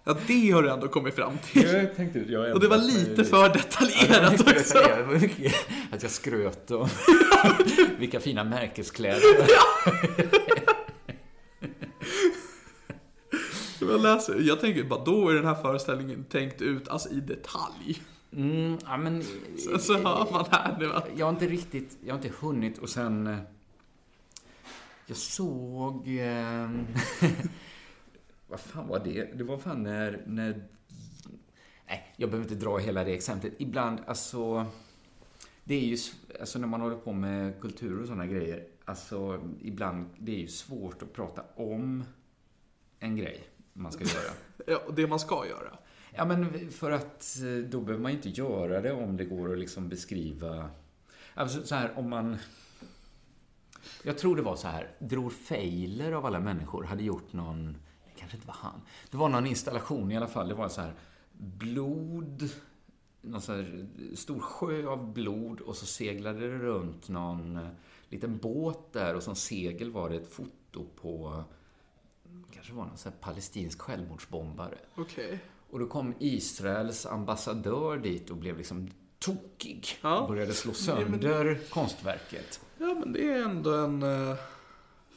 Speaker 1: ja, det har du ändå kommit fram till.
Speaker 2: Jag tänkte, jag
Speaker 1: Och det var lite för detaljerat också.
Speaker 2: Det var mycket att jag skröt om Vilka fina märkeskläder.
Speaker 1: Jag, läser, jag tänker bara, då är den här föreställningen tänkt ut alltså, i detalj.
Speaker 2: Mm, ja, men,
Speaker 1: Så, så hör man här nu att...
Speaker 2: Jag har inte riktigt, jag har inte hunnit och sen... eh, Jag såg... Eh, vad fan var det? Det var fan när, när... Nej, jag behöver inte dra hela det exemplet. Ibland, alltså... Det är ju, s- alltså när man håller på med kultur och sådana grejer, alltså ibland, det är ju svårt att prata om en grej man ska göra.
Speaker 1: Ja, det man ska göra.
Speaker 2: Ja, men för att eh, då behöver man ju inte göra det om det går att liksom beskriva... Alltså så här, om man... Jag tror det var så här, Dror Feiler av alla människor hade gjort någon... Det kanske inte var han. Det var någon installation i alla fall. Det var så här, blod... Någon så här stor sjö av blod och så seglade det runt någon eh, liten båt där och som segel var det ett foto på... Kanske var någon så här palestinsk självmordsbombare.
Speaker 1: Okej.
Speaker 2: Och då kom Israels ambassadör dit och blev liksom tokig.
Speaker 1: Ja.
Speaker 2: Och började slå sönder konstverket.
Speaker 1: Ja, men det är ändå en eh,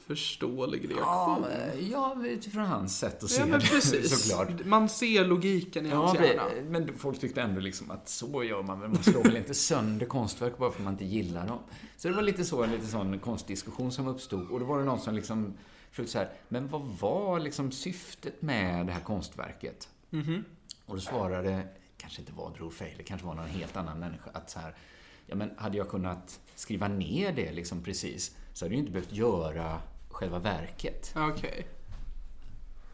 Speaker 1: förståelig reaktion.
Speaker 2: Ja, men- ja, utifrån hans sätt att se
Speaker 1: Ja, men
Speaker 2: det
Speaker 1: precis.
Speaker 2: såklart.
Speaker 1: Man ser logiken i
Speaker 2: Ja,
Speaker 1: hans hjärna.
Speaker 2: men- men folk tyckte ändå liksom att så gör man väl, man slår väl inte sönder konstverk bara för att man inte gillar dem. Så det var lite så, en lite sån konstdiskussion som uppstod och då var det någon som liksom försökte så här, men vad var liksom syftet med det här konstverket? Och då svarade, kanske inte var Drew Feiler, kanske var någon helt annan människa, att så här, ja men hade jag kunnat skriva ner det liksom precis, så hade jag ju inte behövt göra själva verket.
Speaker 1: Okej.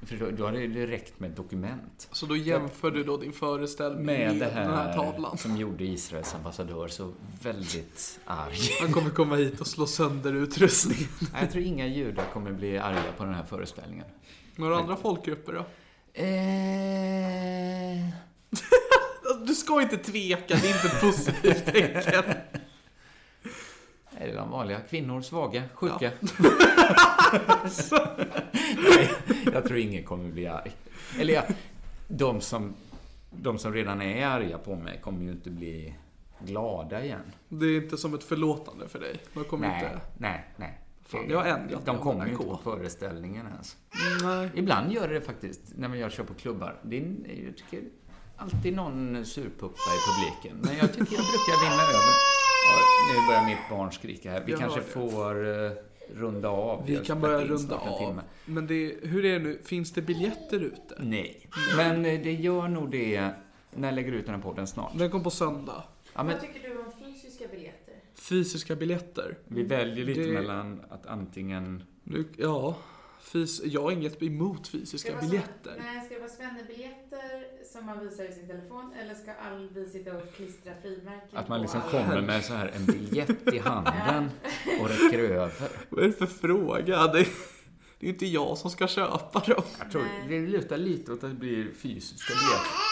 Speaker 2: För då, då hade det ju räckt med ett dokument.
Speaker 1: Så då jämför du då din föreställning med,
Speaker 2: med det här,
Speaker 1: den här tavlan.
Speaker 2: som gjorde Israels ambassadör så väldigt arg.
Speaker 1: Han kommer komma hit och slå sönder utrustningen.
Speaker 2: Nej, jag tror inga judar kommer bli arga på den här föreställningen.
Speaker 1: Några andra folkgrupper då?
Speaker 2: Eh...
Speaker 1: Alltså, Du ska inte tveka, det är inte ett positivt tecken.
Speaker 2: Är det de vanliga? Kvinnor, svaga, sjuka? Nej, jag tror ingen kommer bli arg. Eller ja, de som, de som redan är arga på mig kommer ju inte bli glada igen.
Speaker 1: Det är inte som ett förlåtande för dig. Man kommer
Speaker 2: Nej,
Speaker 1: inte...
Speaker 2: nej, nej.
Speaker 1: Fan, jag har ändrat
Speaker 2: de
Speaker 1: mig
Speaker 2: kommer
Speaker 1: om
Speaker 2: ju
Speaker 1: den
Speaker 2: inte
Speaker 1: här
Speaker 2: på
Speaker 1: K.
Speaker 2: föreställningen ens.
Speaker 1: Nej.
Speaker 2: Ibland gör det faktiskt, när jag kör på klubbar. Det är, jag tycker alltid någon surpuppa i publiken. Men jag tycker jag brukar vinna över. Ja, nu börjar mitt barn skrika här. Vi
Speaker 1: Jag
Speaker 2: kanske
Speaker 1: hör det.
Speaker 2: får eh, runda av.
Speaker 1: Vi
Speaker 2: har
Speaker 1: kan
Speaker 2: spelat
Speaker 1: börja
Speaker 2: in
Speaker 1: runda
Speaker 2: snart en
Speaker 1: av.
Speaker 2: timme. Mm.
Speaker 1: Men det, hur är det nu? Finns det biljetter ute?
Speaker 2: Nej, men eh, det gör nog det. När jag lägger ut den här podden snart?
Speaker 1: Den kom på söndag.
Speaker 2: Ja, men
Speaker 3: Vad tycker du om fysiska biljetter?
Speaker 1: Fysiska biljetter.
Speaker 2: vi väljer lite
Speaker 1: Det-
Speaker 2: mellan att antingen...
Speaker 1: Nu, ja, fys, jag har inget emot
Speaker 3: Ska det
Speaker 1: fysiska
Speaker 3: vara
Speaker 1: biljetter.
Speaker 3: Som, nej, ska det vara svennebiljetter som man visar i sin telefon eller ska all, vi sitta och klistra frimärken
Speaker 2: Att man liksom
Speaker 3: på alla?
Speaker 2: kommer med så här en biljett i handen och räcker över.
Speaker 1: Vad är det för fråga? Det, det är inte jag som ska köpa dem.
Speaker 2: Jag tror det lutar lite åt att det blir fysiska biljetter.